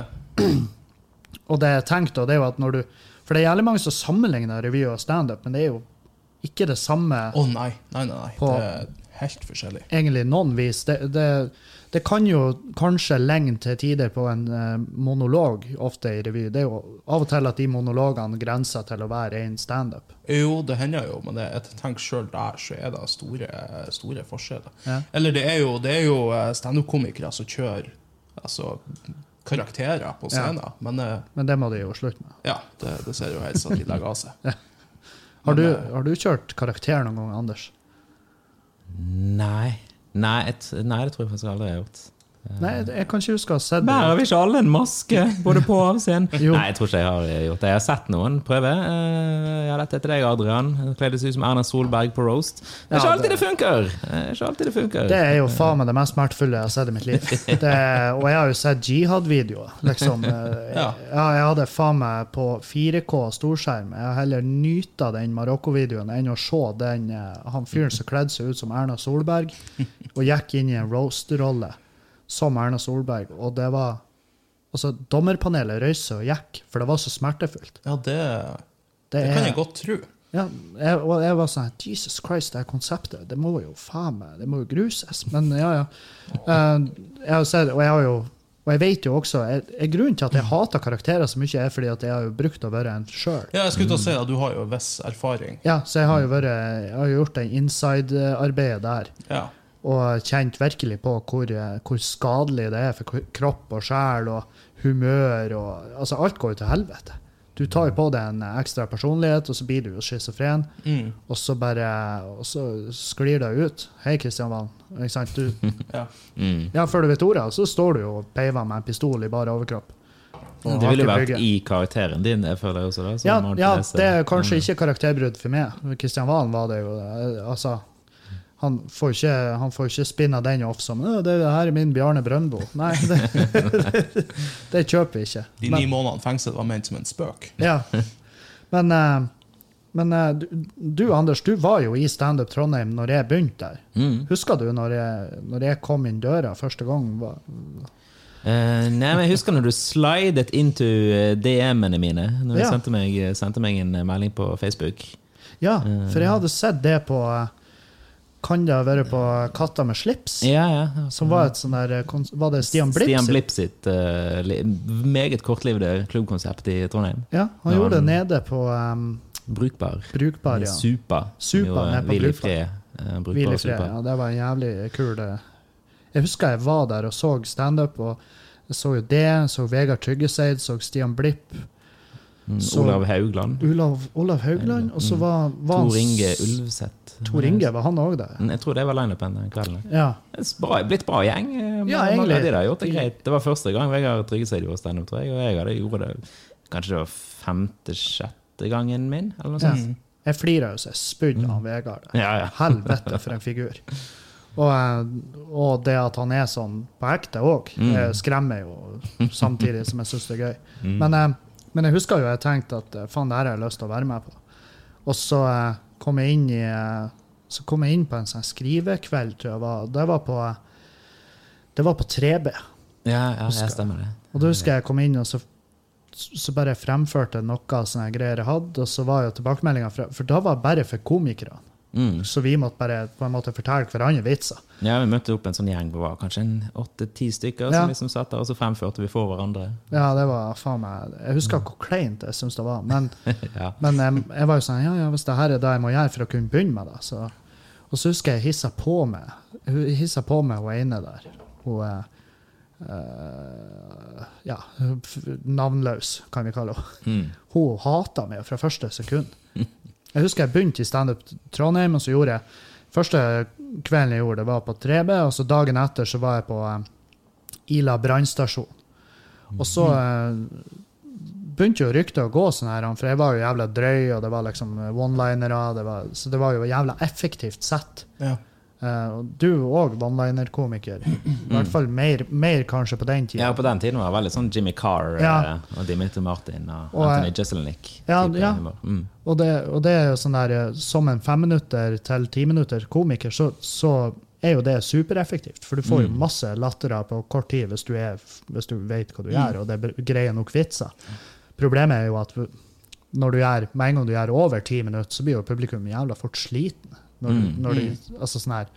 [SPEAKER 1] Og det jeg tenkte, og det er jo at når du For det er jævlig mange som sammenligner revy og standup, men det er jo ikke det samme
[SPEAKER 2] å nei, nei, nei, nei.
[SPEAKER 1] På-
[SPEAKER 2] Det er helt forskjellig.
[SPEAKER 1] egentlig noen vis. Det, det, det kan jo kanskje lenge til tider på en eh, monolog, ofte i revy. Det er jo av og til at de monologene grenser til å være ren standup.
[SPEAKER 2] Jo, det hender jo, men det, jeg tenker selv der så er det store, store forskjeller.
[SPEAKER 1] Ja.
[SPEAKER 2] Eller det er jo, det er jo eh, standup-komikere som kjører altså, karakterer på scenen, men eh,
[SPEAKER 1] Men det må de jo slutte med.
[SPEAKER 2] ja, det, det ser jo helst at de legger av seg.
[SPEAKER 1] Har du,
[SPEAKER 2] Men, eh,
[SPEAKER 1] har du kjørt karakter noen gang, Anders?
[SPEAKER 3] Nei. Nei, jeg t- nei, det tror jeg faktisk aldri jeg har gjort.
[SPEAKER 2] Eh.
[SPEAKER 1] Nei, jeg- jeg kan ikke huske å ha sett det.
[SPEAKER 3] Bærer vi ikke alle en maske, både på og av scenen?
[SPEAKER 1] Jo.
[SPEAKER 3] Nei, jeg tror ikke jeg har gjort det. Jeg har sett noen prøve. Eh, Ja, dette er til deg, Adrian. Kledde seg ut som Erna Solberg på roast. Det er
[SPEAKER 1] Ja,
[SPEAKER 3] ikke alltid
[SPEAKER 1] det-
[SPEAKER 3] det funker! Det er ikke alltid det funker.
[SPEAKER 1] Det er jo faen meg det mest smertefulle jeg har sett i mitt liv. Det, og jeg har jo sett jihad-videoer. Liksom. Eh,
[SPEAKER 2] Ja.
[SPEAKER 1] Ja, jeg hadde faen meg på 4K storskjerm. Jeg har heller nyta den Marokko-videoen enn å se den eh, han fyren som kledde seg ut som Erna Solberg, og gikk inn i en roast-rolle som Erna Solberg, og det var Altså, dommerpanelet røyste og gikk, for det var så smertefullt.
[SPEAKER 2] Ja, det,
[SPEAKER 1] Det,
[SPEAKER 2] det kan
[SPEAKER 1] er-
[SPEAKER 2] jeg godt tro.
[SPEAKER 1] Ja, jeg, og jeg var sånn Jesus Christ, det her konseptet, det må jo faen meg, det må jo gruses. Men ja, ja. Eh, jeg har sett, og jeg har jo og jeg vet jo også, jeg, jeg, Grunnen til at jeg hater karakterer så mye, er fordi at jeg har jo brukt å være en sjøl.
[SPEAKER 2] Ja, jeg skulle til å si at du har jo en viss erfaring.
[SPEAKER 1] Ja, så jeg har jo vært, jeg har jo gjort det inside-arbeidet der
[SPEAKER 2] Ja.
[SPEAKER 1] og kjent virkelig på hvor, eh, hvor skadelig det er for k- kropp og sjel og humør og Altså, alt går jo til helvete. Du tar jo på deg en eh, ekstra personlighet, og så blir du jo schizofren,
[SPEAKER 2] Mm.
[SPEAKER 1] og så bare Og så sklir det ut. Hei, Kristian Valen. Ikke sant? Du,
[SPEAKER 2] Ja.
[SPEAKER 3] Mm.
[SPEAKER 1] ja, før du vet ordet, så står du jo og peiver med en pistol i bar overkropp. Og
[SPEAKER 3] Det ville
[SPEAKER 1] har
[SPEAKER 3] vært
[SPEAKER 1] ikke brygge.
[SPEAKER 3] i karakteren din, jeg føler jeg også. Da, som
[SPEAKER 1] ja,
[SPEAKER 3] Martin
[SPEAKER 1] ja,
[SPEAKER 3] Hesse.
[SPEAKER 1] det er
[SPEAKER 3] Mm.
[SPEAKER 1] kanskje ikke karakterbrudd for meg. Kristian Valen var det jo. eh, Altså, han får ikke, han får ikke spinna den off som «Å, det, det her er min Bjarne Brøndbo. Nei, det, det kjøper vi ikke.
[SPEAKER 2] De ni månedene fengsel var ment som en spøk.
[SPEAKER 1] Ja. Men, eh, men eh, du, du, Anders, du var jo i Standup Trondheim når jeg begynte der.
[SPEAKER 3] Mm.
[SPEAKER 1] Husker du når jeg, når jeg kom inn døra første gang? Var,
[SPEAKER 3] Eh, nei, men Jeg husker når du slidet into eh, DM-ene mine. Når du
[SPEAKER 1] Ja.
[SPEAKER 3] sendte, meg, sendte meg en eh, melding på Facebook.
[SPEAKER 1] ja, for jeg hadde sett det på eh, Kan det være på Katta med slips?
[SPEAKER 3] Ja, ja.
[SPEAKER 1] Som var et sånn der eh, kons- Var det Stian Blipp?
[SPEAKER 3] Stian
[SPEAKER 1] sitt?
[SPEAKER 3] Blipp sitt eh, li- meget kortlivde klubbkonsept i Trondheim.
[SPEAKER 1] Ja, han
[SPEAKER 3] Ja,
[SPEAKER 1] gjorde det
[SPEAKER 3] han-
[SPEAKER 1] nede på um,
[SPEAKER 3] Brukbar.
[SPEAKER 1] Brukbar, ja.
[SPEAKER 3] Supa. som
[SPEAKER 1] Supa
[SPEAKER 3] jo er
[SPEAKER 1] ned på
[SPEAKER 3] hvil i
[SPEAKER 1] Brukbar.
[SPEAKER 3] fred, eh, Brukbar.
[SPEAKER 1] Hvil i fred.
[SPEAKER 3] Supa.
[SPEAKER 1] Ja, det var en jævlig kul eh. Jeg husker jeg var der og så standup, og jeg så jo det, så Vegard Tryggeseid, så Stian Blipp,
[SPEAKER 3] Mm,
[SPEAKER 1] Så-
[SPEAKER 3] Olav Haugland.
[SPEAKER 1] Olav, Olav Haugland, og så
[SPEAKER 3] Mm.
[SPEAKER 1] var, var
[SPEAKER 3] Tor Inge Mm. Ulvseth.
[SPEAKER 1] Tor Inge, var han òg der?
[SPEAKER 3] Jeg tror det var lineupen den kvelden.
[SPEAKER 1] Ja.
[SPEAKER 3] Det er Bra, blitt bra gjeng. eh,
[SPEAKER 1] Ja,
[SPEAKER 3] mange
[SPEAKER 1] egentlig.
[SPEAKER 3] av de der har gjort det greit. Det var første gang Vegard Tryggeseid gjorde standup, tror jeg. Og jeg hadde gjorde det kanskje det var femte-sjette gangen min, eller noe
[SPEAKER 1] Ja.
[SPEAKER 3] sånt.
[SPEAKER 1] Jeg flira jo så jeg spydde av Vegard. der.
[SPEAKER 3] Ja, ja.
[SPEAKER 1] Helvete for en figur. Og, eh, og det at han er sånn på ekte òg,
[SPEAKER 3] Mm.
[SPEAKER 1] skremmer jo samtidig som jeg syns det er gøy. Men, eh, men jeg husker jo jeg tenkte at eh, faen, det her har jeg lyst til å være med på. Og så eh, kom jeg inn i eh, Så kom jeg inn på en sånn skrivekveld, tror jeg. var. Det var på, eh, det var på 3B.
[SPEAKER 3] Ja, ja, jeg stemmer det.
[SPEAKER 1] Og da husker jeg jeg kom inn, og så, så bare fremførte jeg noe av sånne greier jeg hadde, og så var jo tilbakemeldinga fra For da var det bare for komikere.
[SPEAKER 3] Mm.
[SPEAKER 1] Så vi måtte bare på en måte fortelle hverandre vitser.
[SPEAKER 3] Ja, Vi møtte opp en sånn gjeng på hva, kanskje en åtte-ti
[SPEAKER 1] Ja.
[SPEAKER 3] stykker, som liksom satt der, og så fremførte vi for hverandre.
[SPEAKER 1] Ja, det var faen meg Jeg husker hvor kleint jeg syntes det var, men,
[SPEAKER 3] ja.
[SPEAKER 1] men jeg, jeg var jo sånn Ja, ja, hvis det her er det jeg må gjøre for å kunne begynne med det, så Og så husker jeg jeg hissa på meg Hun hissa på meg hun ene der. Hun eh, eh, Ja, f- navnløs, kan vi kalle henne.
[SPEAKER 3] Mm.
[SPEAKER 1] hun hata meg fra første sekund. Jeg husker jeg begynte i standup Trondheim, og så gjorde jeg Første kvelden jeg gjorde det, var på 3B, og så dagen etter så var jeg på eh, Ila brannstasjon. Og så eh, begynte jo ryktet å gå sånn her, for jeg var jo jævla drøy, og det var liksom one-linere, det var- så det var jo jævla effektivt sett.
[SPEAKER 2] Ja.
[SPEAKER 1] Eh, og du òg one-liner-komiker. I hvert fall mer, mer kanskje på den tida.
[SPEAKER 3] ja, på den tiden var det veldig sånn Jimmy Carr
[SPEAKER 1] Ja.
[SPEAKER 3] eh, og Dimitri Martin og,
[SPEAKER 1] Og, eh,
[SPEAKER 3] Anthony Jeselnik.
[SPEAKER 1] ja,
[SPEAKER 3] type
[SPEAKER 1] ja.
[SPEAKER 3] humor. Mm.
[SPEAKER 1] Og det, og det er jo sånn der eh, Som en femminutter til timinutter komiker, så, så er jo det supereffektivt. For du får jo masse latterer på kort tid hvis du, er, hvis du vet hva du gjør, og det er greie nok vitser. Problemet er jo at når du gjør, med en gang du gjør over ti minutter, så blir jo publikum jævla fort sliten. Når, du- når du, altså sånn her,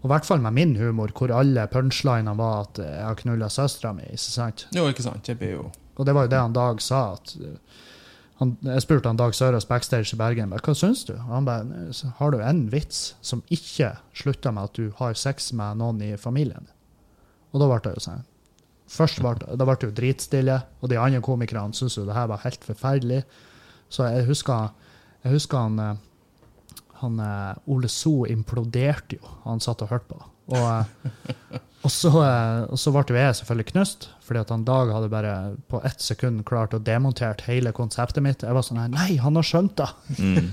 [SPEAKER 1] og i hvert fall med min humor, hvor alle punchlinene var at eh, 'jeg har knulla søstera mi'. ikke sant?
[SPEAKER 2] Jo, ikke sant. Det blir jo
[SPEAKER 1] Og det var jo det han Dag sa. at uh, han, Jeg spurte han Dag Sørås backstage i Bergen bare, hva syns du? Og han bare "Nei, så har du en vits som ikke slutter med at du har sex med noen i familien. Og da ble det jo sånn. Først ble det, da ble det jo dritstille, og de andre komikerne syntes jo det her var helt forferdelig. Så jeg husker, jeg husker han, eh, han eh, Ole So imploderte jo. Han satt og hørte på. Og, eh, og, så, eh, og så ble jo jeg selvfølgelig knust, fordi at han Dag hadde bare på ett sekund klart å demontere hele konseptet mitt. Jeg var sånn her, Nei, han har skjønt det!
[SPEAKER 3] Mm.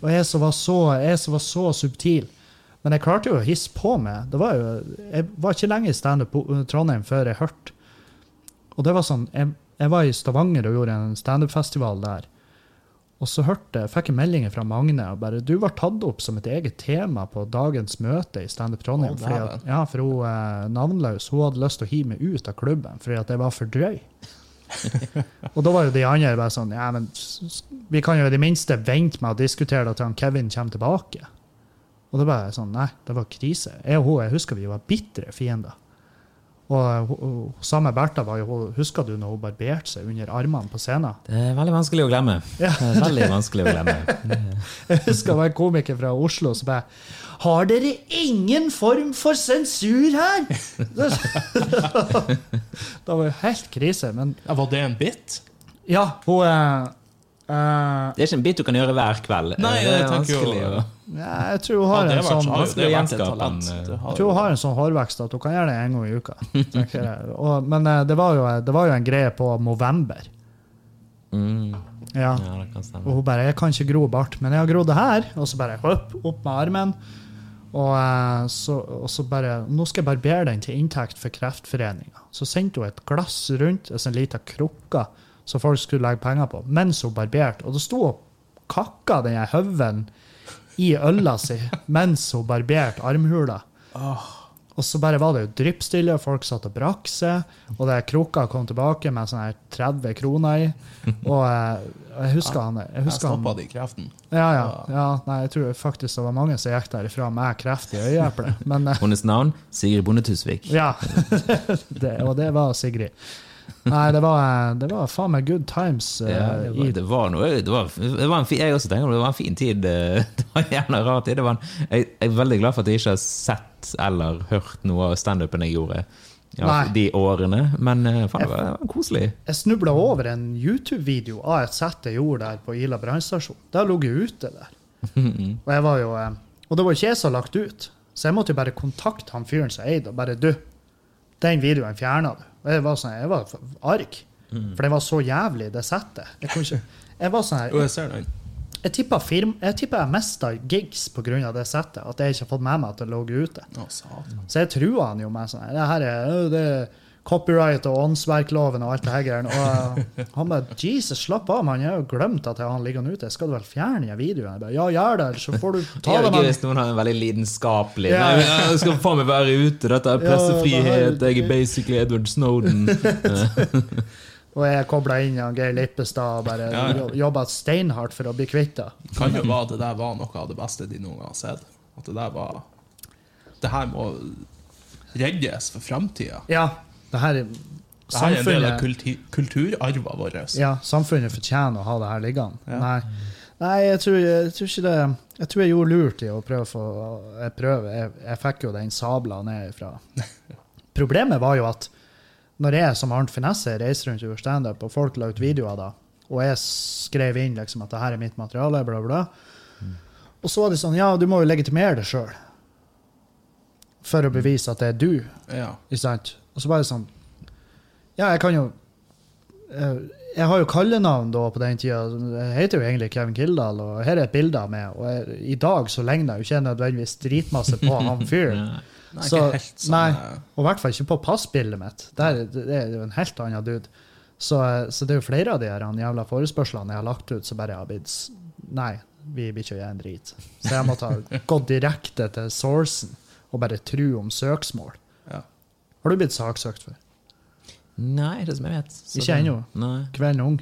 [SPEAKER 1] og jeg som var så, jeg som var så subtil. Men jeg klarte jo å hisse på meg. Det var jo, jeg var ikke lenge i standup på uh, Trondheim før jeg hørte. Og det var sånn, jeg, jeg var i Stavanger og gjorde en standup-festival der. Og så hørte, jeg- fikk jeg meldinger fra Magne og bare Du var tatt opp som et eget tema på dagens møte i Standup Trondheim.
[SPEAKER 2] Å,
[SPEAKER 1] fordi at,
[SPEAKER 2] dæven.
[SPEAKER 1] ja, for hun eh, navnløs hun hadde lyst til å hive meg ut av klubben fordi at jeg var for drøy. og da var jo de andre bare sånn Ja, men s- s- vi kan jo i det minste vente med å diskutere det til han Kevin kommer tilbake. Og det var jeg sånn, nei, det var krise. Jeg og hun, jeg husker vi var bitre fiender. Og eh, hun- hun- samme Bertha var jo, hun- husker du når hun barberte seg under armene på scenen?
[SPEAKER 3] Det er veldig vanskelig å glemme.
[SPEAKER 1] Ja.
[SPEAKER 3] Det er veldig vanskelig å glemme.
[SPEAKER 1] Jeg husker det var en komiker fra Oslo som bare, har dere ingen form for sensur her? det var jo helt krise, men
[SPEAKER 2] ja, Var det en bit?
[SPEAKER 1] ja, hun... eh, eh,
[SPEAKER 3] Det er ikke en bit du kan gjøre hver kveld.
[SPEAKER 2] Nei,
[SPEAKER 3] det er
[SPEAKER 2] jeg tenker jo-
[SPEAKER 3] vanskelig å
[SPEAKER 1] ja, jeg tror hun
[SPEAKER 2] Hadde
[SPEAKER 1] har
[SPEAKER 2] det
[SPEAKER 1] en
[SPEAKER 2] vært så
[SPEAKER 1] sånn...
[SPEAKER 2] har jo
[SPEAKER 3] vanskelig
[SPEAKER 2] det
[SPEAKER 3] å
[SPEAKER 2] vært et
[SPEAKER 3] gjenskape
[SPEAKER 2] talent.
[SPEAKER 3] den, eh,
[SPEAKER 2] Det har
[SPEAKER 1] Jeg tror hun
[SPEAKER 2] jo-
[SPEAKER 1] har en sånn hårvekst at hun kan gjøre det en gang i uka. tenker jeg. Og, men eh, det var, jo, det var jo en greie på Movember.
[SPEAKER 3] mm.
[SPEAKER 1] Ja.
[SPEAKER 3] Ja, det kan stemme.
[SPEAKER 1] Og hun bare 'Jeg kan ikke gro bart, men jeg har grodd det her.' Og så bare opp, opp med armen. Og, eh, så, og så bare 'Nå skal jeg barbere den til inntekt for Kreftforeninga'. Så sendte hun et glass rundt, altså en liten krukke, som folk skulle legge penger på, mens hun barberte. Og da sto hun og kakka den her høvelen i øla si mens hun barberte armhula. Og så bare var det jo dryppstille, og folk satt og brakk seg. Og det krukka kom tilbake med sånne her 30 kroner i. Og eh, jeg husker han Jeg
[SPEAKER 2] Jeg
[SPEAKER 1] husker han
[SPEAKER 2] stappa det i kreften.
[SPEAKER 1] ja, ja. ja nei, jeg tror faktisk det var mange som gikk derifra med kreft i øyeeplet. Men eh,
[SPEAKER 3] Hennes navn Sigrid Bonde Tusvik.
[SPEAKER 1] ja. det, og det var Sigrid. Nei, det var, eh, det var faen meg good times. eh,
[SPEAKER 3] Ja, det, var,
[SPEAKER 1] i,
[SPEAKER 3] det var noe det var, det var en fin, Jeg også tenker på det var en fin tid. eh, Det var en jævla rar tid. Det var en, jeg, jeg er veldig glad for at jeg ikke har sett eller hørt noe av standupen jeg gjorde ja,
[SPEAKER 1] Nei.
[SPEAKER 3] de årene, men eh, faen, det var, det var koselig.
[SPEAKER 1] jeg snubla over en YouTube-video av et sett jeg gjorde der på Ila brannstasjon. Det har ligget ute der. Og jeg var jo eh, Og det var ikke jeg som hadde lagt ut, så jeg måtte jo bare kontakte han fyren som eide, og bare Du, den videoen fjerna du. Og jeg var sånn, jeg var arg. For det var så jævlig, det settet. Jeg, kunne ikke, jeg var sånn her
[SPEAKER 2] Jo, jeg ser den.
[SPEAKER 1] Jeg tippa firm- jeg, tippa jeg mista gigs pga. det settet. At jeg ikke har fått med meg at det lå ute.
[SPEAKER 2] Å, satan.
[SPEAKER 1] Så jeg trua han jo med sånn her, Det her er, ø, det er copyright og åndsverkloven og alt det her greiene. Og eh, han bare Jesus, slapp av, mann. Jeg har jo glemt at jeg har han liggende ute. Skal du vel fjerne den videoen? Jeg bare, ja, gjør det, ellers så får du
[SPEAKER 3] Det
[SPEAKER 1] ta
[SPEAKER 3] er
[SPEAKER 1] det
[SPEAKER 3] jo gøy
[SPEAKER 1] med
[SPEAKER 3] hvis noen har en veldig lidenskapelig
[SPEAKER 1] Ja.
[SPEAKER 3] Nei, men jeg skal faen meg være ute, dette er
[SPEAKER 1] Ja, det
[SPEAKER 3] pressefrihet,
[SPEAKER 1] her-
[SPEAKER 3] jeg er basically Edward Snowden.
[SPEAKER 1] Og jeg kobla inn han Geir Lippestad og bare
[SPEAKER 2] Ja, ja.
[SPEAKER 1] jobba steinhardt for å bli kvitt det.
[SPEAKER 2] Kan jo være det der var noe av det beste de noen gang har sett. At det der var Det her må reddes for framtida.
[SPEAKER 1] Ja, det her er-
[SPEAKER 2] Det her er en del av
[SPEAKER 1] samfunnet,
[SPEAKER 2] kulti- kulturarven vår.
[SPEAKER 1] ja, samfunnet fortjener å ha det her liggende.
[SPEAKER 2] Ja.
[SPEAKER 1] Nei, Nei jeg, tror, jeg tror ikke det Jeg tror jeg gjorde lurt i å prøve å få Jeg prøver. Jeg, jeg fikk jo den sabla ned ifra. Problemet var jo at når jeg som Arnt Finesse reiser rundt og gjør standup, og folk la ut videoer da, og jeg skrev inn liksom at det her er mitt materiale, bla, bla, og så var det sånn Ja, du må jo legitimere det sjøl for å bevise at det er du.
[SPEAKER 2] Ja.
[SPEAKER 1] Ikke sant? Og så bare sånn Ja, jeg kan jo eh, Jeg har jo kallenavn da på den tida. Jeg heter jo egentlig Kevin Kildahl, og her er et bilde av meg. Og jeg, i dag så legner jeg jo ikke nødvendigvis dritmasse på han fyren.
[SPEAKER 2] Nei, ikke
[SPEAKER 1] Så-
[SPEAKER 2] helt sånn,
[SPEAKER 1] nei.
[SPEAKER 2] eh,
[SPEAKER 1] Og i hvert fall ikke på passbildet mitt. Der, det er jo en helt annen dude. Så, eh, så det er jo flere av de her han jævla forespørslene jeg har lagt ut, som bare har blitt s- Nei, vi blir ikke å gjøre en drit. Så jeg måtte ha gått direkte til sourcen og bare tru om søksmål.
[SPEAKER 2] Ja.
[SPEAKER 1] Har du blitt saksøkt for?
[SPEAKER 3] Nei, det er som jeg vet. Så
[SPEAKER 1] Ikke
[SPEAKER 3] det-
[SPEAKER 1] ennå.
[SPEAKER 3] Nei.
[SPEAKER 1] Kvelden ung?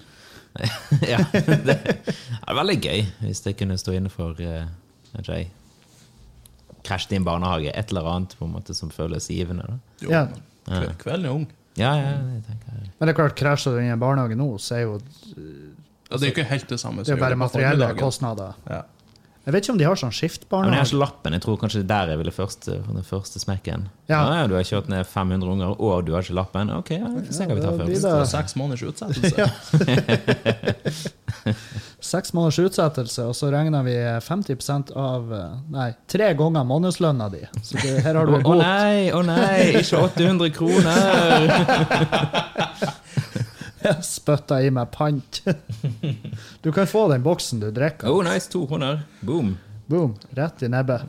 [SPEAKER 3] ja, det er veldig gøy hvis det kunne stå inne for eh, vet ikke jeg, krasjet i en barnehage, et eller annet på en måte som føles givende. Da.
[SPEAKER 2] Jo,
[SPEAKER 1] Ja.
[SPEAKER 2] men kve- Kvelden er ung.
[SPEAKER 3] Ja, ja, det tenker jeg.
[SPEAKER 1] Men det er klart, krasjer du inn i en barnehage nå, så er jo
[SPEAKER 2] Ja, det er jo ikke helt det samme
[SPEAKER 1] det er
[SPEAKER 2] vi
[SPEAKER 1] bare
[SPEAKER 2] gjorde på
[SPEAKER 1] materielle
[SPEAKER 2] formiddagen.
[SPEAKER 1] kostnader.
[SPEAKER 2] Ja.
[SPEAKER 1] Jeg vet ikke om de har sånn
[SPEAKER 3] Ja, Men jeg har
[SPEAKER 1] skiftbarnehage.
[SPEAKER 3] ikke lappen. Jeg tror kanskje det er der jeg ville først eh, få den første smekken. Ja.
[SPEAKER 1] Ja.
[SPEAKER 3] ja, Du har kjørt ned 500 unger, og du har ikke lappen. Ok, ja, vi får se hva vi
[SPEAKER 1] Ja,
[SPEAKER 3] tar
[SPEAKER 1] da blir
[SPEAKER 3] først.
[SPEAKER 2] Det var
[SPEAKER 1] Ja.
[SPEAKER 2] seks måneders utsettelse.
[SPEAKER 1] Seks måneders utsettelse, og så regner vi 50 av eh, Nei, tre ganger månedslønna di. Så det, her har
[SPEAKER 3] Å
[SPEAKER 1] du en
[SPEAKER 3] å
[SPEAKER 1] god
[SPEAKER 3] nei, å nei, ikke 800 kroner!
[SPEAKER 1] spytta i meg pant. Du kan få den boksen du drikker.
[SPEAKER 3] Oh, nice, 200. Boom.
[SPEAKER 1] Boom. Rett i nebbet.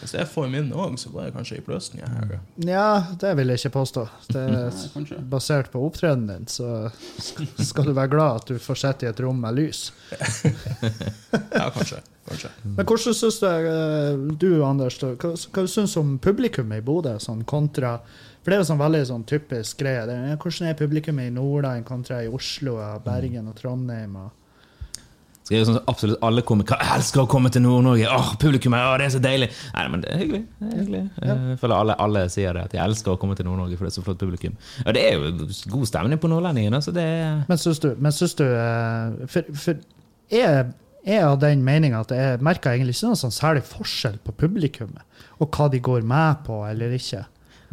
[SPEAKER 2] Hvis jeg får min òg, så går jeg kanskje i pløsten. Jeg
[SPEAKER 3] Mm.
[SPEAKER 2] her.
[SPEAKER 1] Nja, det vil jeg ikke påstå. Det
[SPEAKER 2] Nei, kanskje.
[SPEAKER 1] er basert på opptredenen din, så sk- skal du være glad at du får sitte i et rom med lys.
[SPEAKER 2] Ja, kanskje. kanskje.
[SPEAKER 1] Men hvordan syns du, eh, du Anders, da, hva, hva du syns om publikum i Bodø? Sånn kontra For det er jo sånn veldig sånn typisk greie. Det er, ja, hvordan er publikum i Nordland kontra i Oslo, ja, Bergen og Trondheim? Og,
[SPEAKER 3] Skal gjøre sånn som absolutt alle komikere Jeg elsker å komme til Nord-Norge! Åh, publikum her, åh, det er så deilig! Nei, men det er hyggelig. Det er hyggelig. Eh, Jeg føler alle, alle sier det, at de elsker å komme til Nord-Norge, for det er så flott publikum. Ja, det er jo god stemning på nordlendingene, så det er
[SPEAKER 1] men syns du, men syns du eh, For, for jeg, jeg er av den meninga at jeg merker egentlig ikke noen sånn særlig forskjell på publikummet, og hva de går med på eller ikke.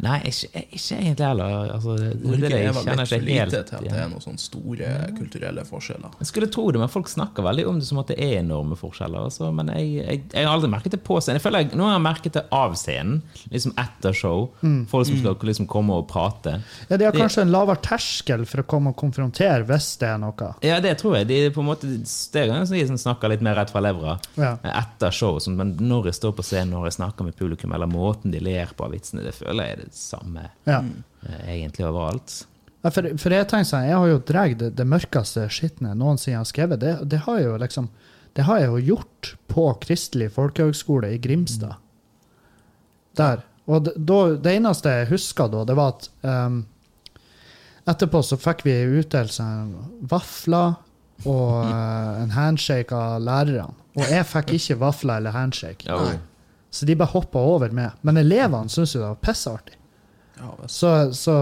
[SPEAKER 3] Nei, ikke, ikke egentlig heller. Altså, det, det,
[SPEAKER 2] Norge
[SPEAKER 3] det,
[SPEAKER 2] er
[SPEAKER 3] jeg
[SPEAKER 2] vel
[SPEAKER 3] kjenner
[SPEAKER 2] litt for
[SPEAKER 3] ikke helt
[SPEAKER 2] lite til at det
[SPEAKER 3] igjen.
[SPEAKER 2] er noen sånne store kulturelle forskjeller.
[SPEAKER 3] Jeg skulle tro det, men folk snakker veldig om det som at det er enorme forskjeller. Altså. Men jeg, jeg, jeg har aldri merket det på scenen. Jeg føler jeg, nå har jeg merket det av scenen, liksom etter show. Folk som skal liksom komme og prate.
[SPEAKER 1] Ja, De har
[SPEAKER 3] Det-
[SPEAKER 1] kanskje en lavere terskel for å komme og konfrontere hvis det er noe.
[SPEAKER 3] Ja, det tror jeg. De er på en måte, det er ganger som de som snakker litt mer rett fra levra
[SPEAKER 1] Ja.
[SPEAKER 3] etter show. Sånn, men når jeg står på scenen, når jeg snakker med publikum, eller måten de ler på av vitsene, det føler jeg er det samme
[SPEAKER 1] Ja.
[SPEAKER 3] eh, egentlig overalt.
[SPEAKER 1] Ja, for, for jeg tenker sånn, jeg har jo dratt det, det mørkeste skitten jeg noensinne har skrevet. Det, det har jeg jo liksom det har jeg jo gjort på Kristelig folkehøgskole i Grimstad. Der. Og det, da, det eneste jeg husker da, det var at ehm, etterpå så fikk vi utdelt sånn vafler og eh, en handshake av lærerne. Og jeg fikk ikke vafler eller handshake,
[SPEAKER 3] Ja, og-
[SPEAKER 1] så de bare hoppa over meg. Men elevene syntes jo det var pissartig.
[SPEAKER 2] Ja, hvis-
[SPEAKER 1] Så, så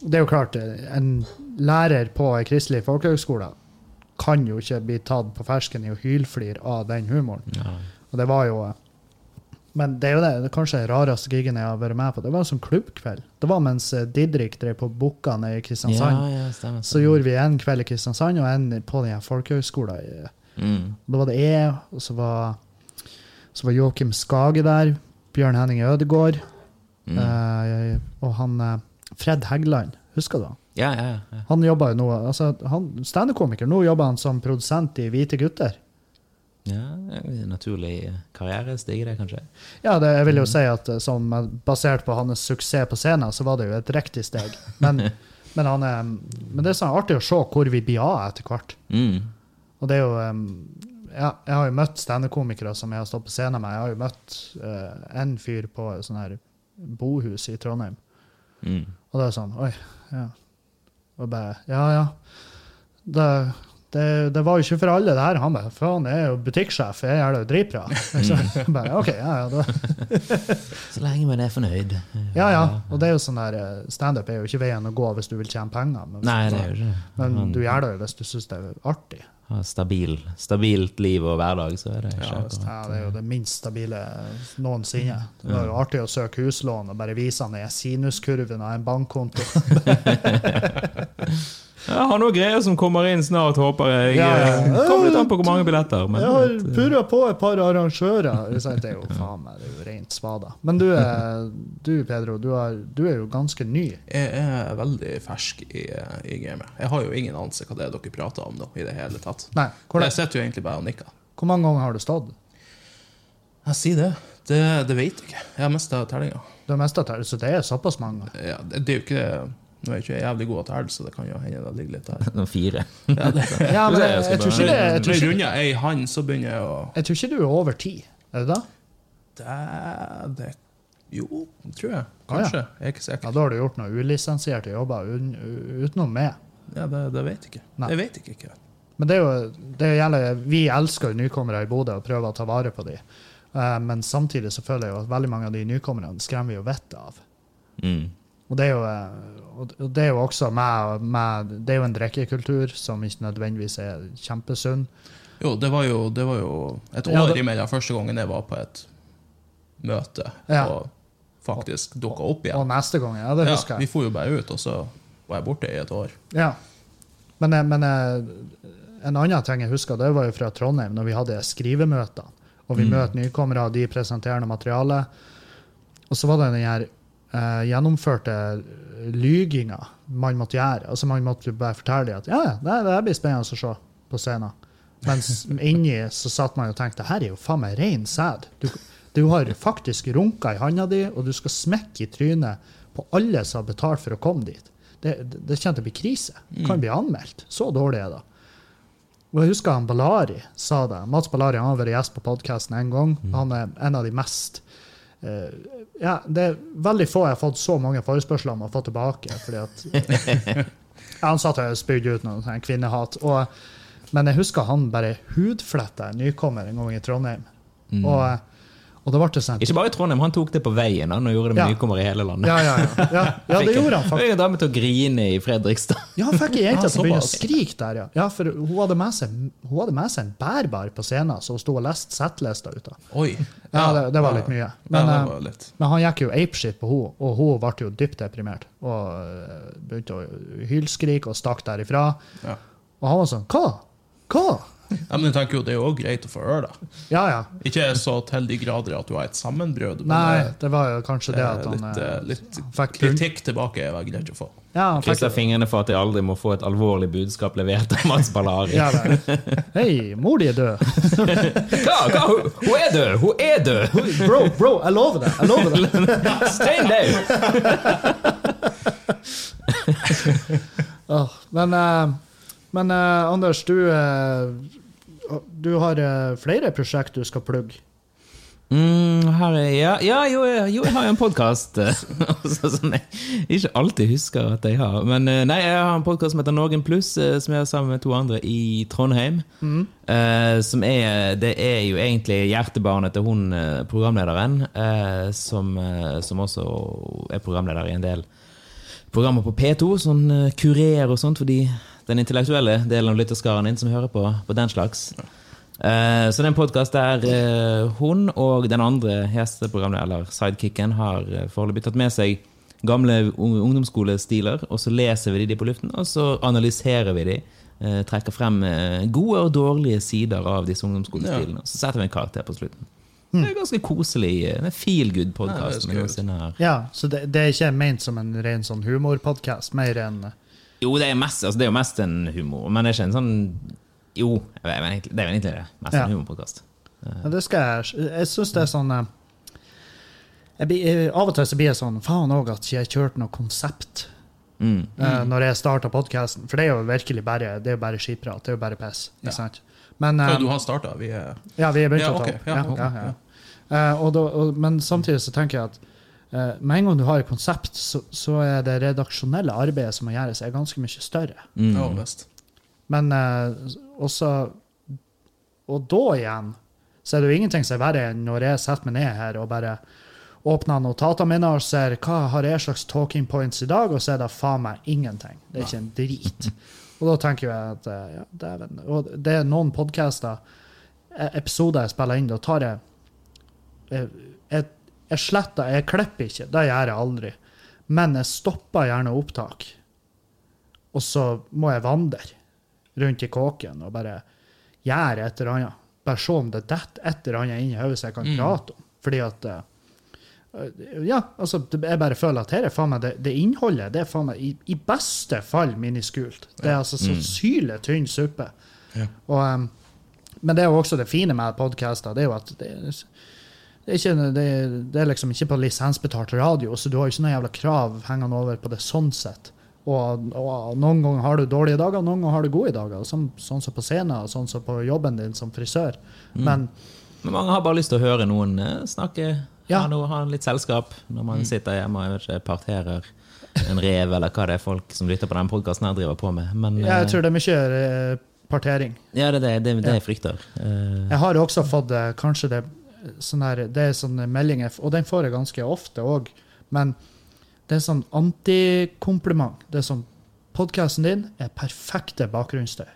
[SPEAKER 1] det er jo klart, en lærer på en kristelig folkehøgskole kan jo ikke bli tatt på fersken i å hylflire av den humoren.
[SPEAKER 3] ja.
[SPEAKER 1] Og det var jo Men det er jo det, det er kanskje den rareste gigen jeg har vært med på. Det var en sånn klubbkveld. Det var mens eh, Didrik drev på Bukka nede i Kristiansand.
[SPEAKER 3] Ja, ja, stemmer.
[SPEAKER 1] Så gjorde vi en kveld i Kristiansand og en på den her folkehøgskolen. i-
[SPEAKER 3] Mm.
[SPEAKER 1] Da var det jeg, og så var, så var Joakim Skage der. Bjørn Henning Ødegård.
[SPEAKER 3] Mm.
[SPEAKER 1] eh, og han eh, Fred Heggeland. Husker du han?
[SPEAKER 3] Ja, ja, ja.
[SPEAKER 1] Han jobber jo nå, altså han, standup-komiker, nå jobber han som produsent i Hvite gutter.
[SPEAKER 3] Ja, naturlig karrierestige, det, kanskje.
[SPEAKER 1] Ja, det, jeg vil jo si at eh, som, eh, basert på hans suksess på scenen, så var det jo et riktig steg. Men, men, han er, men det er sånn artig å se hvor vi blir av etter hvert.
[SPEAKER 3] Mm.
[SPEAKER 1] Og det er jo eh, ja, Jeg har jo møtt standup-komikere som jeg har stått på scenen med. Jeg har jo møtt eh, en fyr på et sånn her bohus i Trondheim.
[SPEAKER 3] Mm.
[SPEAKER 1] Og det er sånn Oi. Ja. Og bare Ja, ja. Det, det, det var jo ikke for alle, det her. Han bare Faen, jeg er jo butikksjef. Jeg gjør det jo dritbra. Så jeg bare, OK, ja, ja. Da,
[SPEAKER 3] Så lenge man er fornøyd.
[SPEAKER 1] Ja, ja. Og det er jo sånn der, eh, standup er jo ikke veien å gå hvis du vil tjene penger. Men,
[SPEAKER 3] Nei, det er jo ikke det.
[SPEAKER 1] men du gjør det jo hvis du syns det er artig.
[SPEAKER 3] Ha stabil, stabilt liv og hverdag, så er det ikke
[SPEAKER 2] Ja,
[SPEAKER 3] akkurat-
[SPEAKER 1] Ja, det er jo det Mm. minst stabile noensinne. Det var jo artig å søke huslån og bare vise han ned sinuskurven av en bankkonto.
[SPEAKER 3] Jeg har noen greier som kommer inn snart, håper jeg.
[SPEAKER 1] Ja, ja.
[SPEAKER 3] Det Kommer litt an på hvor mange billetter. Men,
[SPEAKER 1] Jeg har purra på et par arrangører. Ikke sant? Det er jo faen meg, det er jo rent svada. Men du, eh, du Pedro, du er, du er jo ganske ny.
[SPEAKER 2] Jeg er veldig fersk i, eh, i gamet. Jeg har jo ingen anelse hva det er dere prater om nå. i det hele tatt.
[SPEAKER 1] Nei, hvor,
[SPEAKER 2] Jeg sitter jo egentlig bare og nikker.
[SPEAKER 1] hvor mange ganger har du stått?
[SPEAKER 2] Jeg sier det. Det, det vet jeg ikke. Jeg har mista tellinga.
[SPEAKER 1] Du har mest av tall, så det er såpass mange.
[SPEAKER 2] Ja, det, det er jo ikke Nå er jeg ikke jeg jævlig god til telle, så det kan jo hende det ligger litt der.
[SPEAKER 3] Noen fire.
[SPEAKER 2] Ja, det,
[SPEAKER 1] Ja, men jeg, jeg tror ikke det jeg
[SPEAKER 2] når
[SPEAKER 1] tror
[SPEAKER 2] jeg
[SPEAKER 1] ikke,
[SPEAKER 2] runder ei hand, så begynner jeg å
[SPEAKER 1] jeg tror ikke du er over ti, er du det?
[SPEAKER 2] det, det, Jo, tror jeg.
[SPEAKER 1] Ah, ja.
[SPEAKER 2] Kanskje. Jeg er ikke
[SPEAKER 1] Ja,
[SPEAKER 2] sikker.
[SPEAKER 1] da har du gjort noen ulisensierte jobber un, u- utenom meg.
[SPEAKER 2] Ja, det, det vet jeg ikke.
[SPEAKER 1] Nei.
[SPEAKER 2] Jeg vet ikke. ikke.
[SPEAKER 1] Men det er jo, det er jo jævlig, vi elsker jo nykommere i Bodø og prøver å ta vare på dem. men samtidig så føler jeg jo at veldig mange av de nykommerne skremmer vi jo vettet av.
[SPEAKER 3] Mm.
[SPEAKER 1] Og det er jo, eh, og og det er jo også med, med Det er jo en drikkekultur som ikke nødvendigvis er kjempesunn.
[SPEAKER 2] Jo, det var jo, det var jo et år
[SPEAKER 1] Ja, det-
[SPEAKER 2] imellom første gangen jeg var på et møte
[SPEAKER 1] Ja.
[SPEAKER 2] og faktisk dukka opp
[SPEAKER 1] Og
[SPEAKER 2] igjen.
[SPEAKER 1] neste gang, ja, det
[SPEAKER 2] Ja,
[SPEAKER 1] husker
[SPEAKER 2] vi
[SPEAKER 1] jeg.
[SPEAKER 2] for jo bare ut, og så var jeg borte i et år.
[SPEAKER 1] Ja. Men, eh, men eh, en annen ting jeg husker, det var jo fra Trondheim, når vi hadde skrivemøter. Og vi møter nykommere, og de presenterer noe materiale. Og så var det den her eh, gjennomførte lyginga man måtte gjøre. Altså Man måtte bare fortelle dem at ja, ja, det, det her blir spennende å se på scenen. Mens inni så satt man jo og tenkte her er jo faen meg rein sæd. Du, du har faktisk runka i handa di, og du skal smekke i trynet på alle som har betalt for å komme dit. Det, det, det kjente bli krise.
[SPEAKER 3] Mm.
[SPEAKER 1] Kan bli anmeldt. Så dårlig er det. Og jeg husker han Ballari sa det. Mats Ballari han har vært gjest på podkasten en gang.
[SPEAKER 3] Mm.
[SPEAKER 1] Han er en av de mest eh, ja, Det er veldig få jeg har fått så mange forespørsler om å få tilbake. fordi at ja, Han satt og spydde ut noe sånn kvinnehat. Og, men jeg husker han bare hudfletta en nykommer en gang i Trondheim. Og, og da ble det sånn
[SPEAKER 3] Ikke bare Mm. i Trondheim, han tok det på veien han, og gjorde det med
[SPEAKER 1] Ja.
[SPEAKER 3] nykommere i hele landet.
[SPEAKER 1] Ja, ja, ja. ja, ja det gjorde han faktisk.
[SPEAKER 3] Det er en dame til å grine i Fredrikstad.
[SPEAKER 1] Ja, fikk ei
[SPEAKER 2] Ah,
[SPEAKER 1] jente som begynte å
[SPEAKER 2] såpass.
[SPEAKER 1] skrike der, ja. ja for hun hadde, med seg, hun hadde med seg en bærbar på scenen, så hun sto og leste settlista ut av.
[SPEAKER 2] Oi.
[SPEAKER 1] Ja, det, det var litt mye. Men,
[SPEAKER 2] ja, det
[SPEAKER 1] eh,
[SPEAKER 2] var litt.
[SPEAKER 1] men han gikk jo apeshit på henne, og hun ble jo dypt deprimert. Og eh, begynte å hylskrike og stakk derifra.
[SPEAKER 2] Ja.
[SPEAKER 1] Og han var sånn Hva? Hva?
[SPEAKER 2] Ja, men jeg tenker jo, det er jo også greit å få høre, da.
[SPEAKER 1] Ja, ja.
[SPEAKER 2] Ikke så til de grader at du har et sammenbrudd, men
[SPEAKER 1] Nei,
[SPEAKER 2] eh,
[SPEAKER 1] det var jo kanskje det at han
[SPEAKER 2] litt,
[SPEAKER 1] eh,
[SPEAKER 2] eh, litt
[SPEAKER 1] fikk pun-
[SPEAKER 2] kritikk tilbake er vel greit å få.
[SPEAKER 1] Ja, han fikk
[SPEAKER 3] Krysser fingrene for at jeg aldri må få et alvorlig budskap levert av Mats Ballari.
[SPEAKER 1] ja, vel. Hei, mor di er død.
[SPEAKER 3] Hva? Hva? Hun, hun er død! Hun er død!
[SPEAKER 1] Bro, bro, jeg lover det. Jeg lover det.
[SPEAKER 3] Stein død!
[SPEAKER 1] Åh, men eh, men eh, Anders, du, eh, du har eh, flere prosjekt du skal plugge.
[SPEAKER 3] Mm, her er, ja, ja jo, jeg- jo, jeg har jo en podkast som jeg ikke alltid husker at jeg har. Men eh, nei, jeg har en podkast som heter Norgen Pluss, eh, som jeg har sammen med to andre i Trondheim. Eh, som er, det er jo egentlig hjertebarnet til hun eh, programlederen, eh, som, eh, som også er programleder i en del programmer på P2, sånn eh, kurer og sånt, fordi den intellektuelle delen av lytterskaren din som hører på, på den slags. Eh, så det er en podkast der eh, hun og den andre gjesteprogrammet, eller sidekicken, har eh, foreløpig tatt med seg gamle ung- ungdomsskolestiler, og så leser vi de på luften, og så analyserer vi de. eh, trekker frem eh, gode og dårlige sider av disse ungdomsskolestilene. og Så setter vi en karakter på slutten. Det er ganske koselig. eh, En feel
[SPEAKER 2] Nei, Hm. det
[SPEAKER 3] good-podkast.
[SPEAKER 2] er
[SPEAKER 3] vi noensinne har
[SPEAKER 1] Ja, så det, det er ikke ment som en ren sånn humorpodkast, mer enn
[SPEAKER 3] Jo, det er, mest, altså, det er jo mest en humor, men det er ikke en sånn Jo, jeg vet- men egentlig- det er vel egentlig det. Mest
[SPEAKER 1] Ja.
[SPEAKER 3] en humorpodkast.
[SPEAKER 1] Ja, det skal jeg Jeg syns det er sånn eh, jeg blir, eh, Av og til så blir jeg sånn Faen òg at ikke jeg kjørte noe konsept
[SPEAKER 3] Mm.
[SPEAKER 1] eh, når jeg starta podkasten. For det er jo virkelig bare Det er jo bare skitprat. Det er jo bare piss.
[SPEAKER 2] Ja.
[SPEAKER 1] Ikke sant? Men
[SPEAKER 2] Ja,
[SPEAKER 1] eh,
[SPEAKER 2] du har starta. Vi er
[SPEAKER 1] Ja, vi er begynt
[SPEAKER 2] Ja,
[SPEAKER 1] å ta
[SPEAKER 2] ok,
[SPEAKER 1] opp.
[SPEAKER 2] ja,
[SPEAKER 1] Ja,
[SPEAKER 2] ok,
[SPEAKER 1] ja, ja. Eh, og da, og, men samtidig så tenker jeg at eh, med en gang du har et konsept, så, så er det redaksjonelle arbeidet som må gjøres, er ganske mye større.
[SPEAKER 3] Mm.
[SPEAKER 2] ja, visst.
[SPEAKER 1] Men eh, også Og da igjen så er det jo ingenting som er verre enn når jeg setter meg ned her og bare åpner notatene mine og ser hva har jeg slags talking points i dag, og så er det faen meg ingenting. Det er ikke en drit. Og da tenker jeg at eh, ja, dæven. Og det er noen podcaster, eh, episoder jeg spiller inn, da tar jeg Jeg, jeg, jeg sletter, jeg klipper ikke. Det gjør jeg aldri. Men jeg stopper gjerne opptak. Og så må jeg vandre rundt i kåken og bare gjøre et eller annet. Bare se om det detter et eller annet inn i hodet som jeg kan
[SPEAKER 2] Mm.
[SPEAKER 1] prate om. Fordi at eh, eh, Ja, altså, det- jeg bare føler at her er faen meg det, det innholdet det er faen meg i, i beste fall miniskult. Det er altså så syle tynn suppe.
[SPEAKER 2] Mm. Ja.
[SPEAKER 1] Og, em, men det er jo også det fine med podcaster, det er jo at det, er- det, er ikke, det, er- det er liksom ikke på lisensbetalt radio, så du har jo ikke noe jævla krav hengende over på det sånn sett. Og, og noen ganger har du dårlige dager, noen ganger har du gode dager. Sånn, sånn som på scenen, og sånn som på jobben din som frisør. Men
[SPEAKER 3] Men mange har bare lyst til å høre noen eh, snakke.
[SPEAKER 1] Ja. Mm.
[SPEAKER 3] Ha, noe, ha litt selskap når man sitter hjemme og jeg vet ikke, parterer en rev, eller hva det er folk som lytter på denne podkasten driver på med. Men
[SPEAKER 1] jeg
[SPEAKER 3] eh,
[SPEAKER 1] tror det er mye eh, partering.
[SPEAKER 3] ja, det er det, det, er det jeg frykter. Eh,
[SPEAKER 1] Jeg har også fått eh, kanskje det eh, sånn her, Det er sånne meldinger, og den får jeg ganske ofte òg, men det er sånn antikompliment. Det er sånn Podkasten din er perfekte bakgrunnsstøy.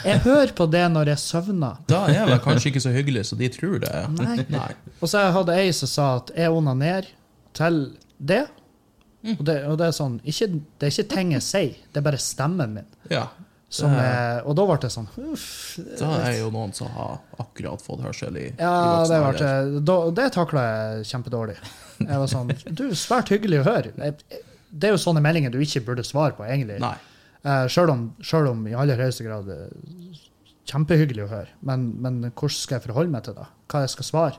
[SPEAKER 1] jeg hører på det når jeg søvner.
[SPEAKER 2] Da er det kanskje ikke så hyggelig som de tror det er.
[SPEAKER 1] Nei.
[SPEAKER 2] Nei.
[SPEAKER 1] Og så hadde ei som sa at jeg onanerer til det. Og det, og det er sånn ikke, Det er ikke ting jeg sier, det er bare stemmen min.
[SPEAKER 2] Ja.
[SPEAKER 1] Som
[SPEAKER 2] Det-
[SPEAKER 1] er, og da ble det sånn Uff.
[SPEAKER 2] Da er jo noen som har akkurat fått hørsel i, i
[SPEAKER 1] Ja,
[SPEAKER 2] voksen
[SPEAKER 1] det,
[SPEAKER 2] alder.
[SPEAKER 1] ble, da, det takla jeg kjempedårlig. Jeg var sånn Du, svært hyggelig å høre. Jeg- Det er jo sånne meldinger du ikke burde svare på, egentlig.
[SPEAKER 2] Nei.
[SPEAKER 1] Eh, Sjøl om, selv om i aller høyeste grad eh, Kjempehyggelig å høre, men, men hvordan skal jeg forholde meg til det? Hva jeg skal svare?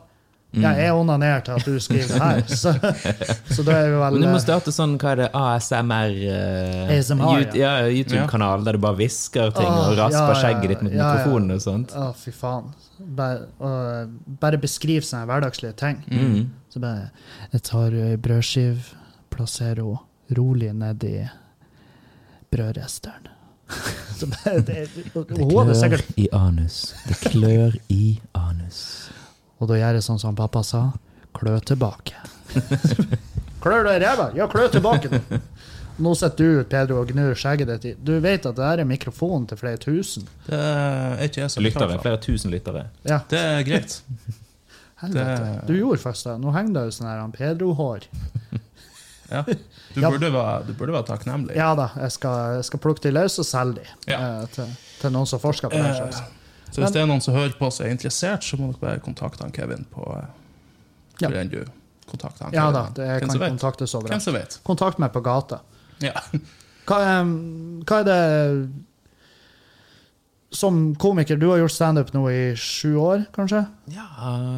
[SPEAKER 1] Ja,
[SPEAKER 2] Mm.
[SPEAKER 1] jeg er onanert til at du skriver det her, så, så da er vi vel
[SPEAKER 3] men du må
[SPEAKER 1] eh,
[SPEAKER 3] starte sånn hva er det, ASMR eh,
[SPEAKER 1] ASMR, ja.
[SPEAKER 3] Yout- ja. YouTube-kanal der du bare hvisker ting
[SPEAKER 1] Åh,
[SPEAKER 3] og
[SPEAKER 1] ja,
[SPEAKER 3] rasper
[SPEAKER 1] ja,
[SPEAKER 3] skjegget ditt mot
[SPEAKER 1] ja, ja.
[SPEAKER 3] mikrofonen og sånn. sånt.
[SPEAKER 1] Å, fy faen. Bare, å, bare beskriv sånne hverdagslige ting.
[SPEAKER 3] Mm.
[SPEAKER 1] Så bare Jeg tar eh, brødskiv, plasserer henne rolig nedi brødresteren. Så bare, det, og, og hun hadde sikkert
[SPEAKER 3] i anus. Det klør i anus.
[SPEAKER 1] Og da gjør jeg sånn som pappa sa. Klø tilbake. Klør deg i ræva? Ja, klø tilbake, nå. Nå sitter du, Pedro, og gnur skjegget ditt i Du vet at det her er mikrofonen til flere tusen?
[SPEAKER 2] Det er ikke jeg som
[SPEAKER 3] Lyttere.
[SPEAKER 2] betaler for.
[SPEAKER 3] Flere tusen lyttere.
[SPEAKER 1] Ja,
[SPEAKER 2] Det er greit.
[SPEAKER 1] helvete.
[SPEAKER 2] Det-
[SPEAKER 1] Du gjorde først det. Nå henger det jo sånn her han Pedro-hår.
[SPEAKER 2] Ja. Du,
[SPEAKER 1] Ja.
[SPEAKER 2] burde være, du burde være takknemlig.
[SPEAKER 1] Ja da, jeg skal, jeg skal plukke de løs og selge de
[SPEAKER 2] Ja.
[SPEAKER 1] eh, til, til noen som forsker på den slags.
[SPEAKER 2] Eh, Så hvis det er noen som hører på og som er interessert, så må dere bare kontakte han Kevin på eh,
[SPEAKER 1] Ja.
[SPEAKER 2] hvor enn du kontakter han
[SPEAKER 1] Ja
[SPEAKER 2] Kevin.
[SPEAKER 1] da, det
[SPEAKER 2] Hvem
[SPEAKER 1] kan
[SPEAKER 2] som vet?
[SPEAKER 1] kontaktes
[SPEAKER 2] Hvem
[SPEAKER 1] overalt.
[SPEAKER 2] som vet?
[SPEAKER 1] Kontakt meg på gata.
[SPEAKER 2] Ja.
[SPEAKER 1] Hva, em, hva er det Som komiker, du har gjort standup nå i sju år, kanskje?
[SPEAKER 3] Ja,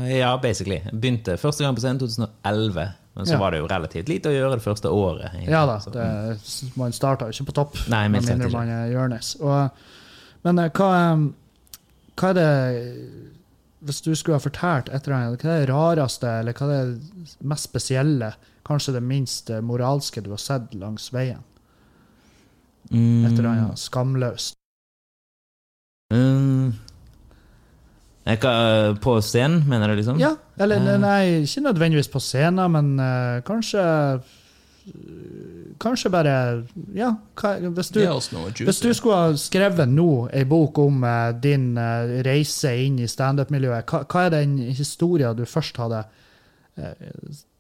[SPEAKER 3] ja, basically. Begynte første gang på scenen 2011. Men så
[SPEAKER 1] Ja.
[SPEAKER 3] var det jo relativt lite å gjøre det første året. egentlig.
[SPEAKER 1] Ja da,
[SPEAKER 3] Så-
[SPEAKER 1] det, man starter jo ikke på topp,
[SPEAKER 3] Nei,
[SPEAKER 1] med
[SPEAKER 3] mildt sagt
[SPEAKER 1] mindre
[SPEAKER 3] ikke.
[SPEAKER 1] man er Jonis. Og- Men eh, hva, em, hva er det Hvis du skulle ha fortalt et eller annet, hva er det rareste eller hva er det mest spesielle, kanskje det minst eh, moralske du har sett langs veien? Et eller annet skamløst.
[SPEAKER 3] Mm. Jeg kan, på scenen, mener du liksom?
[SPEAKER 1] Ja, eller
[SPEAKER 3] Eh.
[SPEAKER 1] nei, ikke nødvendigvis på scenen, men eh, kanskje Kanskje bare Ja, hva, hvis du
[SPEAKER 2] Gi oss noe
[SPEAKER 1] Hvis du
[SPEAKER 2] juicy.
[SPEAKER 1] skulle ha skrevet nå ei bok om eh, din eh, reise inn i standup-miljøet, hva, hva er den historien du først hadde eh,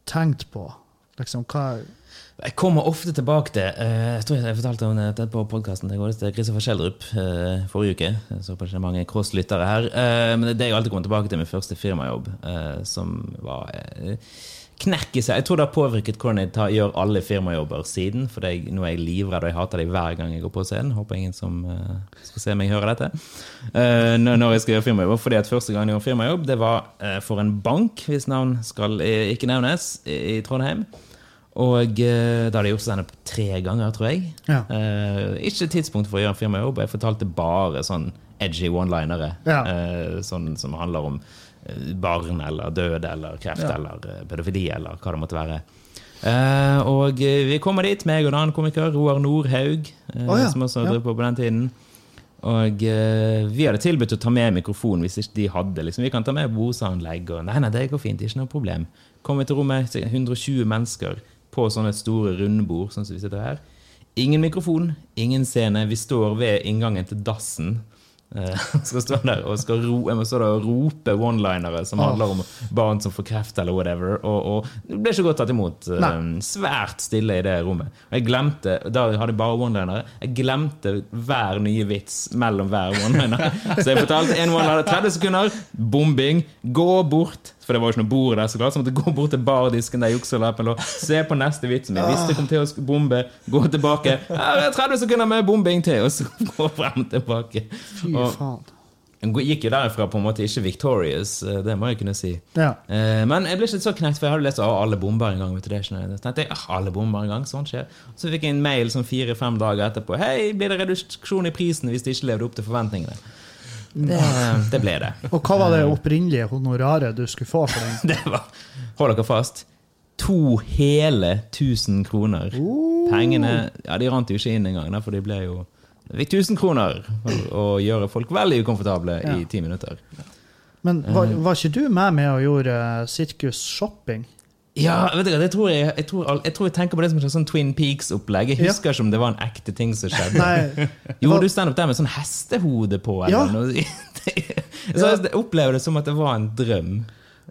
[SPEAKER 1] tenkt på? Liksom, hva
[SPEAKER 3] Jeg kommer ofte tilbake til eh, Jeg tror jeg fortalte om det på podkasten til godeste Kristoffer Schjelderup eh, forrige uke. Jeg så på ikke mange cross-lyttere her. eh, men det er det jeg alltid kommer tilbake til min første firmajobb, eh, som var eh, knekk i seg. Jeg tror det har påvirket hvordan jeg tar, gjør alle firmajobber siden. For jeg, nå er jeg livredd, og jeg hater dem hver gang jeg går på scenen. Håper ingen som eh, skal se meg høre dette. Eh, når når jeg skal gjøre firmajobber Fordi at første gang jeg gjorde firmajobb, det var eh, for en bank, hvis navn skal eh, ikke nevnes, i, i Trondheim. Og eh, da hadde jeg gjort standup tre ganger, tror jeg.
[SPEAKER 1] Ja.
[SPEAKER 3] Eh, ikke tidspunkt for å gjøre firmajobb. Jeg fortalte bare sånn edgy one-linere.
[SPEAKER 1] Ja.
[SPEAKER 3] eh, sånn som handler om eh, barn eller død eller kreft eller eh, pedofili eller hva det måtte være. Eh, og eh, vi kommer dit, meg og en annen komiker, Roar Nordhaug, eh,
[SPEAKER 1] Å ja,
[SPEAKER 3] som også
[SPEAKER 1] ja.
[SPEAKER 3] drev på på den tiden. Og eh, vi hadde tilbudt å ta med mikrofon hvis ikke de hadde. Liksom. Vi kan ta med boseanlegg. Og nei, nei, det går fint. Ikke noe problem. Kom vi til rommet, sikkert 120 mennesker på sånne store rundbord, sånn som vi sitter her. Ingen mikrofon, ingen scene. Vi står ved inngangen til dassen. Eh, skal stå der og skal ro, jeg må stå der og rope one-linere som handler om barn som får kreft eller whatever. Og, og det ble ikke godt tatt imot. eh,
[SPEAKER 1] Nei.
[SPEAKER 3] svært stille i det rommet. Og jeg glemte Da hadde jeg bare one-linere. Jeg glemte hver nye vits mellom hver one-liner. Så jeg fortalte en one-liner 30 sekunder. Bombing. Gå bort. For det var jo ikke noe bord der, så klart. Så jeg måtte gå bort til bardisken der jukselappen lå. Se på neste vits som jeg visste kom til å sk- bombe. Gå tilbake. Her er 30 sekunder med bombing til. Og så gå frem og tilbake.
[SPEAKER 1] Fy
[SPEAKER 3] Og
[SPEAKER 1] faen.
[SPEAKER 3] jeg gikk jo derfra på en måte ikke victorious. eh, Det må jeg kunne si.
[SPEAKER 1] Ja.
[SPEAKER 3] Eh, men jeg ble ikke så knekt, for jeg hadde lest at alle bomber en gang. Vet du, det er ikke noe. Så tenkte jeg, ah, alle bomber en gang, sånn skjer. Så fikk jeg en mail sånn fire-fem dager etterpå. Hei, blir det reduksjon i prisen hvis de ikke levde opp til forventningene? Det, det ble det.
[SPEAKER 1] Og hva var det opprinnelige honoraret du skulle få for den?
[SPEAKER 3] Det var, hold dere fast, to hele tusen kroner. Pengene, ja, de rant jo ikke inn engang, da, for de ble jo jeg fikk 1000 kroner for å gjøre folk veldig ukomfortable i
[SPEAKER 1] Ja.
[SPEAKER 3] ti minutter.
[SPEAKER 1] Men var, var ikke du med med og gjorde eh, Sirkus Shopping?
[SPEAKER 3] Ja, vet du hva, det tror jeg, jeg, tror, all- jeg tror jeg tenker på det som et sånn Twin Peaks-opplegg. Jeg
[SPEAKER 1] Ja.
[SPEAKER 3] husker ikke om det var en ekte ting som skjedde.
[SPEAKER 1] Nei.
[SPEAKER 3] Gjorde du standup der med sånn hestehode på?
[SPEAKER 1] Ja.
[SPEAKER 3] Eller noe? Så jeg opplever det som at det var en drøm.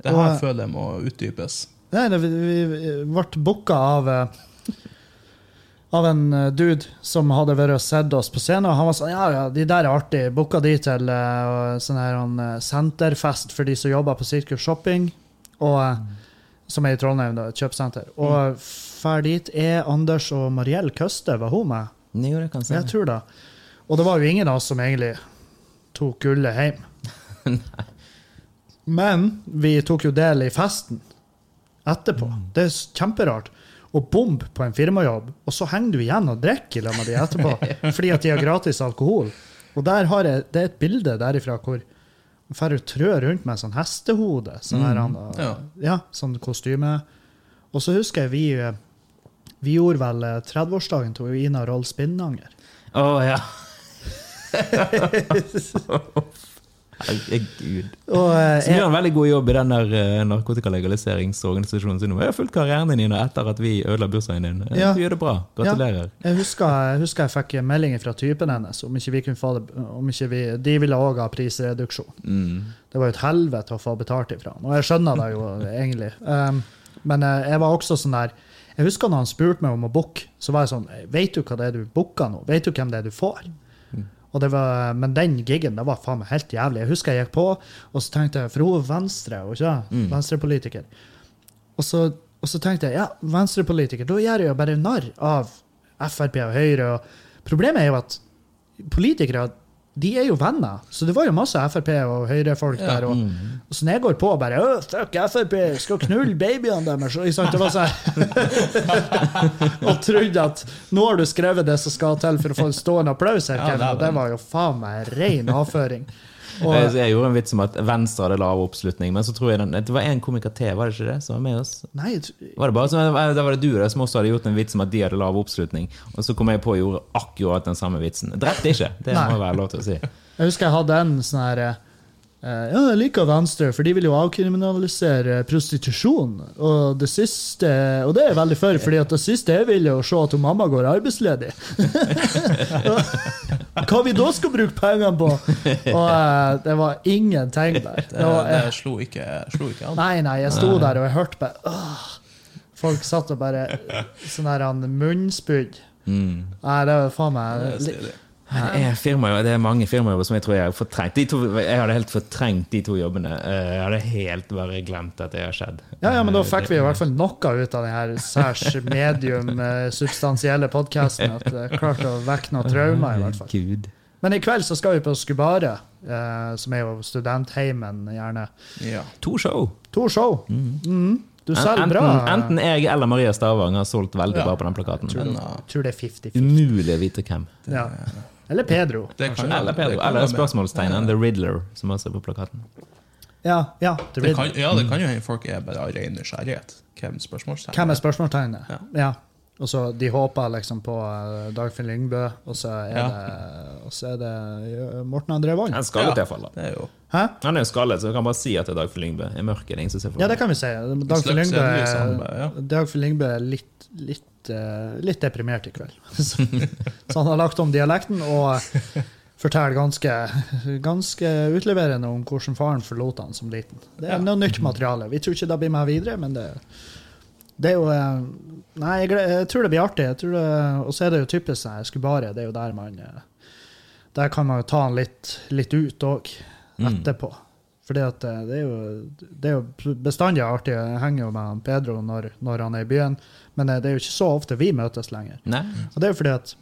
[SPEAKER 2] Det her føler jeg må utdypes.
[SPEAKER 1] Nei, det, vi, vi ble booka av eh, Av en eh, dude som hadde vært og sett oss på scenen. Og han var sånn Ja, ja, de der er artige. Booka de til eh, sånn her eh, senterfest for de som jobber på Sirkus Shopping, og, eh, som er i Trondheim, da, et kjøpesenter. Og mm. fær dit er Anders og Mariell Køste, var hun med?
[SPEAKER 3] Jo, det kan
[SPEAKER 1] Jeg tror det. Og det var jo ingen av oss som egentlig tok gullet hjem. Men vi tok jo del i festen etterpå. Det er s- kjemperart. Å bombe på en firmajobb, og så henger du igjen og drikker i lag med de etterpå fordi at de har gratis alkohol. Og der har jeg, Det er et bilde derifra hvor han drar og trør rundt med en sånn hestehode. Sånn, her, han,
[SPEAKER 2] Ja.
[SPEAKER 1] ja, sånn kostyme. Og så husker jeg vi, eh, vi gjorde vel eh, 30-årsdagen til Ina Roll Spinnanger.
[SPEAKER 3] Å ja. Herregud.
[SPEAKER 1] Og eh,
[SPEAKER 3] Så du
[SPEAKER 1] jeg,
[SPEAKER 3] gjør en veldig god jobb i den der eh, narkotikalegialiseringsorganisasjonen sin. Jeg har fulgt karrieren din Nina, etter at vi ødela bursdagen din. Eh,
[SPEAKER 1] Ja.
[SPEAKER 3] Du gjør det bra. Gratulerer.
[SPEAKER 1] jeg, husker, jeg husker jeg fikk en melding fra typen hennes om ikke vi kunne få det om ikke vi, De ville òg ha prisreduksjon.
[SPEAKER 3] Mm.
[SPEAKER 1] Det var jo et helvete å få betalt ifra han. Og jeg skjønner det jo egentlig. Um, men eh, jeg var også sånn der Jeg husker når han spurte meg om å booke, så var jeg sånn Vet du hva det er du booker nå? Vet du hvem det er du får? Og det var, men den giggen det var faen meg helt jævlig. Jeg husker jeg gikk på, og så tenkte jeg For hun er venstre, og ikke mm. venstrepolitiker. Og så, og så tenkte jeg ja, venstrepolitiker, da gjør jeg jo bare narr av Frp og Høyre. Og problemet er jo at politikere de er jo venner, så det var jo masse Frp og Høyre-folk der. Og,
[SPEAKER 3] Mm.
[SPEAKER 1] og så når jeg går på og bare «Åh, Fuck Frp, skal knulle babyene deres! Og, ikke sant, det var sånn, og trodde at nå har du skrevet det som skal til for å få en stående applaus her,
[SPEAKER 2] Ja,
[SPEAKER 1] Kevin.
[SPEAKER 2] det er
[SPEAKER 1] Og det var jo faen meg ren avføring. Og,
[SPEAKER 3] Eh, så Jeg gjorde en vits om at Venstre hadde lav oppslutning, men så tror jeg den, det var en komiker til, var det ikke det, som var med oss?
[SPEAKER 1] nei, jeg tr-
[SPEAKER 3] Var det bare, så- da var det du da, som også hadde gjort en vits om at de hadde lav oppslutning, og så kom jeg på og gjorde akkurat den samme vitsen. Drepte ikke, det
[SPEAKER 1] Nei.
[SPEAKER 3] må være lov til å si.
[SPEAKER 1] Jeg husker jeg hadde en sånn her eh, Ja, jeg liker Venstre, for de vil jo avkriminalisere prostitusjon. Og det siste Og det er jeg veldig for, fordi at det siste jeg vil, er å se at hun mamma går arbeidsledig. Hva vi da skal bruke pengene på?! Og eh, det var ingenting der.
[SPEAKER 2] Det,
[SPEAKER 1] Det var,
[SPEAKER 2] det
[SPEAKER 1] eh,
[SPEAKER 2] slo ikke, slo ikke an.
[SPEAKER 1] nei, nei, jeg sto der og jeg hørte bare åh, Folk satt og bare Sånn her han munnspydd. Nei, det var faen meg
[SPEAKER 2] Det er stilig.
[SPEAKER 3] Mm. Det er, firmajobb- det er mange firmajobber som jeg tror jeg har fortrengt. De to, jeg hadde helt fortrengt de to jobbene. Eh, Jeg hadde helt bare glemt at det har skjedd.
[SPEAKER 1] Ja, ja, men
[SPEAKER 3] Eh,
[SPEAKER 1] da fikk vi i hvert fall noe ut av den her særs medium eh, substansielle podkasten. At det klarte å vekke noe traumer, i hvert fall.
[SPEAKER 3] Gud.
[SPEAKER 1] Men i kveld så skal vi på Skubare, eh, som er jo studentheimen, gjerne.
[SPEAKER 2] Ja.
[SPEAKER 3] To show.
[SPEAKER 1] To show. Mhm. Du selger
[SPEAKER 3] enten,
[SPEAKER 1] bra.
[SPEAKER 3] enten jeg eller Maria Stavang har solgt veldig
[SPEAKER 2] Ja.
[SPEAKER 3] bra på den plakaten.
[SPEAKER 2] Men, uh,
[SPEAKER 1] Tror det er 50-50.
[SPEAKER 3] Umulig å vite hvem.
[SPEAKER 1] Ja. Eller Pedro.
[SPEAKER 2] det kan
[SPEAKER 3] Eller
[SPEAKER 2] det
[SPEAKER 3] Pedro.
[SPEAKER 2] kan
[SPEAKER 3] Eller
[SPEAKER 2] være med.
[SPEAKER 3] spørsmålstegnen The Riddler, som også er på plakaten.
[SPEAKER 1] Ja, ja. The
[SPEAKER 2] Det
[SPEAKER 1] Riddler.
[SPEAKER 2] kan, ja, det kan jo hende folk er bare av ren nysgjerrighet. Hvem spørsmålstegn?
[SPEAKER 1] Hvem er spørsmålstegnet? Ja. Og så De håper liksom på eh, Dagfinn Lyngbø, og så er
[SPEAKER 2] Ja.
[SPEAKER 1] det, og så er det eh, Morten André Wold.
[SPEAKER 3] Han er skallet,
[SPEAKER 2] Ja.
[SPEAKER 3] i hvert fall. da.
[SPEAKER 2] Det er jo
[SPEAKER 1] Hæ?
[SPEAKER 3] Han er jo skallet, så vi kan bare si at det er Dagfinn Lyngbø. I mørket er det ingen som ser for
[SPEAKER 1] Ja, det kan vi si. Dagfinn
[SPEAKER 2] slags
[SPEAKER 1] Lyngbø
[SPEAKER 2] endeløs samarbeid, ja.
[SPEAKER 1] er, Dagfinn Lyngbø er litt, litt, eh, litt deprimert i kveld. Så, så han har lagt om dialekten og forteller ganske, ganske utleverende om hvordan faren forlot han som liten. Det er noe nytt materiale. Vi tror ikke det blir med videre, men det, det er jo eh, Nei, jeg, gle- jeg tror det blir artig. Jeg tror det, og så er det jo typisk sånn her, Skubare. Det er jo der man eh, Der kan man jo ta han litt, litt ut òg, etterpå. Fordi at eh, det er jo, det er jo bestandig artig. Jeg henger jo med han Pedro når, når han er i byen, men eh, det er jo ikke så ofte vi møtes lenger.
[SPEAKER 3] Nei?
[SPEAKER 1] Og det er jo fordi at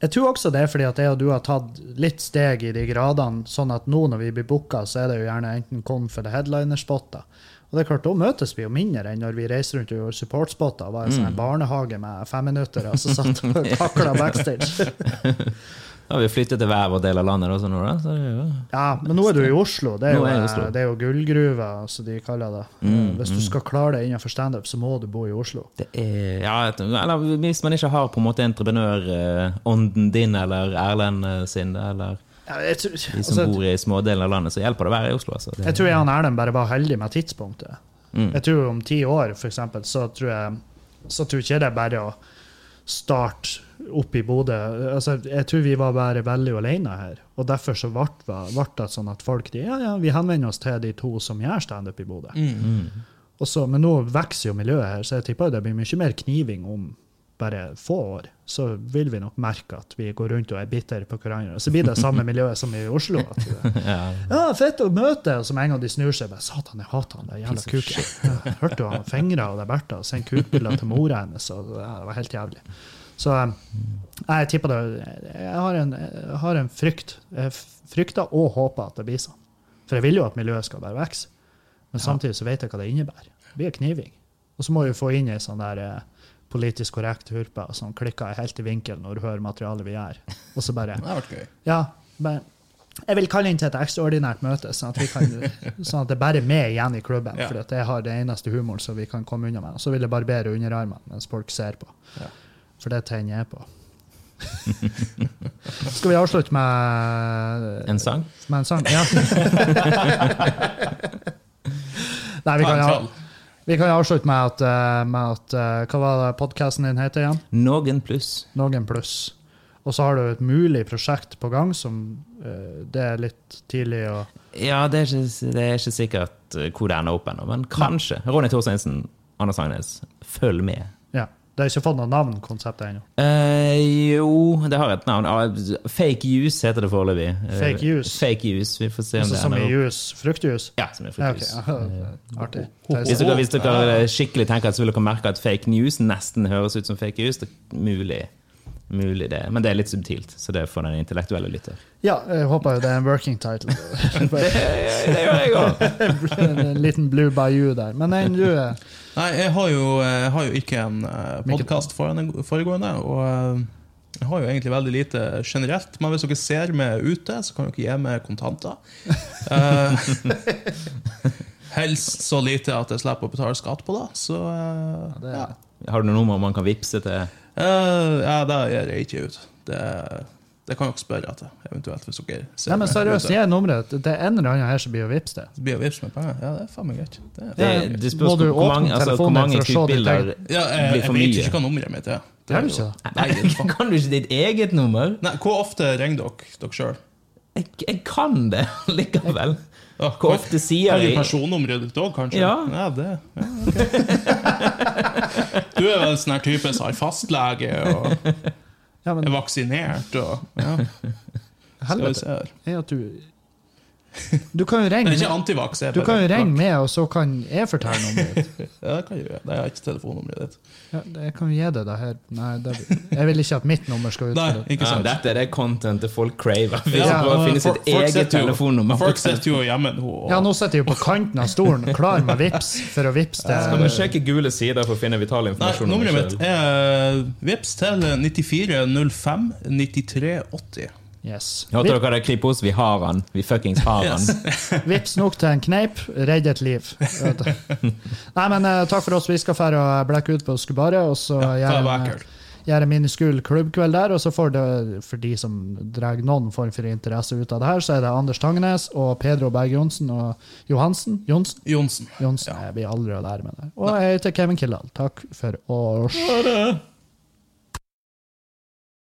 [SPEAKER 1] Jeg tror også det er fordi at jeg og du har tatt litt steg i de gradene, sånn at nå når vi blir booka, så er det jo gjerne enten kom for the headliner-spotter. Og det er klart, da møtes vi jo mindre enn når vi reiser rundt og gjorde support-spotter. Var en
[SPEAKER 3] Mm.
[SPEAKER 1] sånn en barnehage med femminutter, og så satt og kakla backstage.
[SPEAKER 3] Da har vi flyttet til hver vår del av landet. Da, så nå, da. Så det er jo...
[SPEAKER 1] Ja, men nå er du i Oslo. Det er jo,
[SPEAKER 3] Nå er jeg i Oslo. Mm,
[SPEAKER 1] det er jo gullgruva, som de kaller det. Hvis du skal klare deg innenfor standup, så må du bo i Oslo.
[SPEAKER 3] Det er, ja, et- eller Hvis man ikke har på en måte entreprenørånden din eller Erlend eh, sin, eller
[SPEAKER 1] Ja, jeg, tror,
[SPEAKER 3] de som
[SPEAKER 1] altså,
[SPEAKER 3] bor i smådelen av landet, så hjelper det å være i Oslo. Altså. Det,
[SPEAKER 1] Jeg tror jeg og Erlend bare var heldig med tidspunktet. Jeg tror om ti år, for eksempel, så tror jeg så tror ikke jeg det er bare å starte opp i Bodø. Altså, jeg tror vi var bare veldig alene her. Og derfor så ble det sånn at folk de, ja, ja, vi henvender oss til de to som gjør standup i Bodø. Og så- Men nå vokser jo miljøet her, så jeg tipper det blir mye mer kniving om bare få år. Så vil vi nok merke at vi går rundt og er bitre på hverandre. Og så blir det samme miljøet som i Oslo. At det, ja, fett å møte, og så med en gang de snur seg, bare satan, jeg hater han der jævla kuken. Ja, Hørte jo han fingra av det Bertha, og sendte kukbilder til mora hennes, og ja, det var helt jævlig. Så eh, jeg tipper det Jeg har en, jeg har en frykt. Jeg f- frykter og håper at det blir sånn. For jeg vil jo at miljøet skal bare vokse, men samtidig så vet jeg hva det innebærer. Det blir kniving. Og så må vi få inn ei sånn der eh, politisk korrekt hurpe som klikker helt i vinkel når du hører materialet vi gjør, og så bare
[SPEAKER 2] Det har vært gøy.
[SPEAKER 1] ja, men jeg vil kalle inn til et ekstraordinært møte, sånn at, vi kan, sånn at det bare er meg igjen i klubben.
[SPEAKER 2] Ja.
[SPEAKER 1] For at jeg har den eneste humoren som vi kan komme unna med. Og så vil jeg barbere underarmene mens folk ser på.
[SPEAKER 2] Ja.
[SPEAKER 1] For det tenner jeg på. Skal vi avslutte med,
[SPEAKER 3] en sang?
[SPEAKER 1] med en sang? Ja. Nei, vi
[SPEAKER 2] Ta
[SPEAKER 1] kan,
[SPEAKER 2] en
[SPEAKER 1] av-
[SPEAKER 2] trall.
[SPEAKER 1] vi kan avslutte med at, eh, med at eh, Hva var det podkasten din heter igjen?
[SPEAKER 3] Noen pluss.
[SPEAKER 1] noen pluss. Og så har du et mulig prosjekt på gang som eh, det er litt tidlig å
[SPEAKER 3] Ja, det er ikke, det er ikke sikkert eh, hvor det ender opp ennå, men kanskje. Ronny Torsteinsen, Anders Agnes, følg med.
[SPEAKER 1] Ja. Det har ikke fått noe navn, konseptet ennå.
[SPEAKER 3] Eh, jo, det har et navn. Ah, Fake Use heter det foreløpig. Eh,
[SPEAKER 1] Fake Use?
[SPEAKER 3] Fake Use, Vi får se om
[SPEAKER 1] Altså
[SPEAKER 3] det
[SPEAKER 1] som i
[SPEAKER 3] ender opp.
[SPEAKER 1] juice. Fruktjuice?
[SPEAKER 3] Ja, som er
[SPEAKER 1] Ja,
[SPEAKER 3] fake
[SPEAKER 1] ok.
[SPEAKER 3] use.
[SPEAKER 1] Ja, Artig.
[SPEAKER 3] Hvis dere, hvis dere skikkelig tenker at så vil dere merke at fake news nesten høres ut som fake news. Det er mulig, mulig det. Men det er litt subtilt, så det får den intellektuelle lytter.
[SPEAKER 1] Ja, jeg håper jo det er en working title.
[SPEAKER 3] Det gjør jeg òg!
[SPEAKER 1] en liten blue bayou der. Men enn du eh,
[SPEAKER 2] Nei, jeg har jo, jeg har jo ikke en podkast foregående, og eh, jeg har jo egentlig veldig lite generelt. Men hvis dere ser meg ute, så kan dere gi meg kontanter. Eh, helst så lite at jeg slipper å betale skatt på det. Så eh,
[SPEAKER 1] det er-
[SPEAKER 2] ja.
[SPEAKER 3] Har du noe nummer man kan vippse til?
[SPEAKER 2] Eh, ja, det gir jeg ikke ut. Det, det kan dere spørre etter, eventuelt, hvis dere ser
[SPEAKER 1] Nei, men
[SPEAKER 2] meg
[SPEAKER 1] seriøst,
[SPEAKER 2] ute.
[SPEAKER 1] gi nummeret. Det er en eller annen her som blir å vippse det.
[SPEAKER 2] Det blir jo vips med penger. Ja, det er faen meg greit. Det er
[SPEAKER 3] Det,
[SPEAKER 2] faen meg greit.
[SPEAKER 3] det spørs
[SPEAKER 1] Må du
[SPEAKER 3] hvor, hvor
[SPEAKER 1] åpne
[SPEAKER 3] mange, altså, hvor
[SPEAKER 1] telefonen
[SPEAKER 3] mange
[SPEAKER 1] for å se ditt
[SPEAKER 3] skuespiller
[SPEAKER 2] Ja, jeg,
[SPEAKER 3] blir
[SPEAKER 2] jeg
[SPEAKER 3] for
[SPEAKER 2] vet
[SPEAKER 3] mye.
[SPEAKER 2] ikke hva nummeret mitt er.
[SPEAKER 1] Gjør du ikke det?
[SPEAKER 2] Nei, det er faen-
[SPEAKER 3] Kan du ikke ditt eget nummer?
[SPEAKER 2] Nei, hvor ofte ringer dere dere sjøl?
[SPEAKER 3] Jeg, jeg kan det likevel.
[SPEAKER 2] Åh,
[SPEAKER 3] Hvor ofte sier
[SPEAKER 2] Har du
[SPEAKER 3] jeg
[SPEAKER 2] personnummeret ditt òg, kanskje?
[SPEAKER 3] Ja.
[SPEAKER 2] det. Ja, ok. Du er vel en sånn her type som har fastlege og
[SPEAKER 1] Ja, men
[SPEAKER 2] er vaksinert og ja. Skal vi
[SPEAKER 1] helvete
[SPEAKER 2] se her.
[SPEAKER 1] er at du Du kan jo
[SPEAKER 2] Men
[SPEAKER 1] ringe,
[SPEAKER 2] det er ikke antivax. jeg
[SPEAKER 1] du
[SPEAKER 2] bare-
[SPEAKER 1] kan jo ringe med, og så kan jeg fortelle noe om det.
[SPEAKER 2] Ja, det kan jeg gjøre. Nei, Jeg har ikke telefonnummeret ditt.
[SPEAKER 1] Ja, det- jeg kan jo gi deg det her. Nei, det, jeg vil ikke at mitt nummer skal ut.
[SPEAKER 2] Nei, ikke
[SPEAKER 4] Ja,
[SPEAKER 2] sant.
[SPEAKER 4] dette er det contentet folk craver. Hvis
[SPEAKER 2] Ja,
[SPEAKER 4] det bare
[SPEAKER 2] og
[SPEAKER 4] finnes
[SPEAKER 2] folk-
[SPEAKER 4] et
[SPEAKER 2] folk
[SPEAKER 4] eget
[SPEAKER 2] sitter jo-
[SPEAKER 4] telefonnummer.
[SPEAKER 2] Folk sitter jo hjemme nå. Og,
[SPEAKER 1] Ja, nå sitter jeg jo på kanten av stolen, klar med vips for å vips
[SPEAKER 4] Skal vi
[SPEAKER 1] til
[SPEAKER 4] sjekke gule sider for å finne vital
[SPEAKER 2] Nei,
[SPEAKER 4] informasjon? om
[SPEAKER 2] nummeret
[SPEAKER 4] oss
[SPEAKER 2] mitt
[SPEAKER 4] selv?
[SPEAKER 2] er eh, vips til 9405 9380.
[SPEAKER 1] Yes.
[SPEAKER 4] Hørte dere det Kripos? Vi har han. Vi fuckings har han.
[SPEAKER 2] Yes.
[SPEAKER 1] Vips nok til en kneip, redd et liv. Nei, men eh, takk for oss. Vi skal dra og blekke ut på Skubaret, og så
[SPEAKER 2] Ja, det var
[SPEAKER 1] gjøre en-
[SPEAKER 2] ekkelt.
[SPEAKER 1] gjøre en miniskul klubbkveld der. Og så får det, for de som drar noen form for interesse ut av det her, så er det Anders Tangenes og Pedro Berg Johnsen og Johansen. Johnsen?
[SPEAKER 2] Johnsen.
[SPEAKER 1] Johnsen. Jeg blir aldri å lære med det. Og jeg heter Kevin Kildahl. Takk for oss.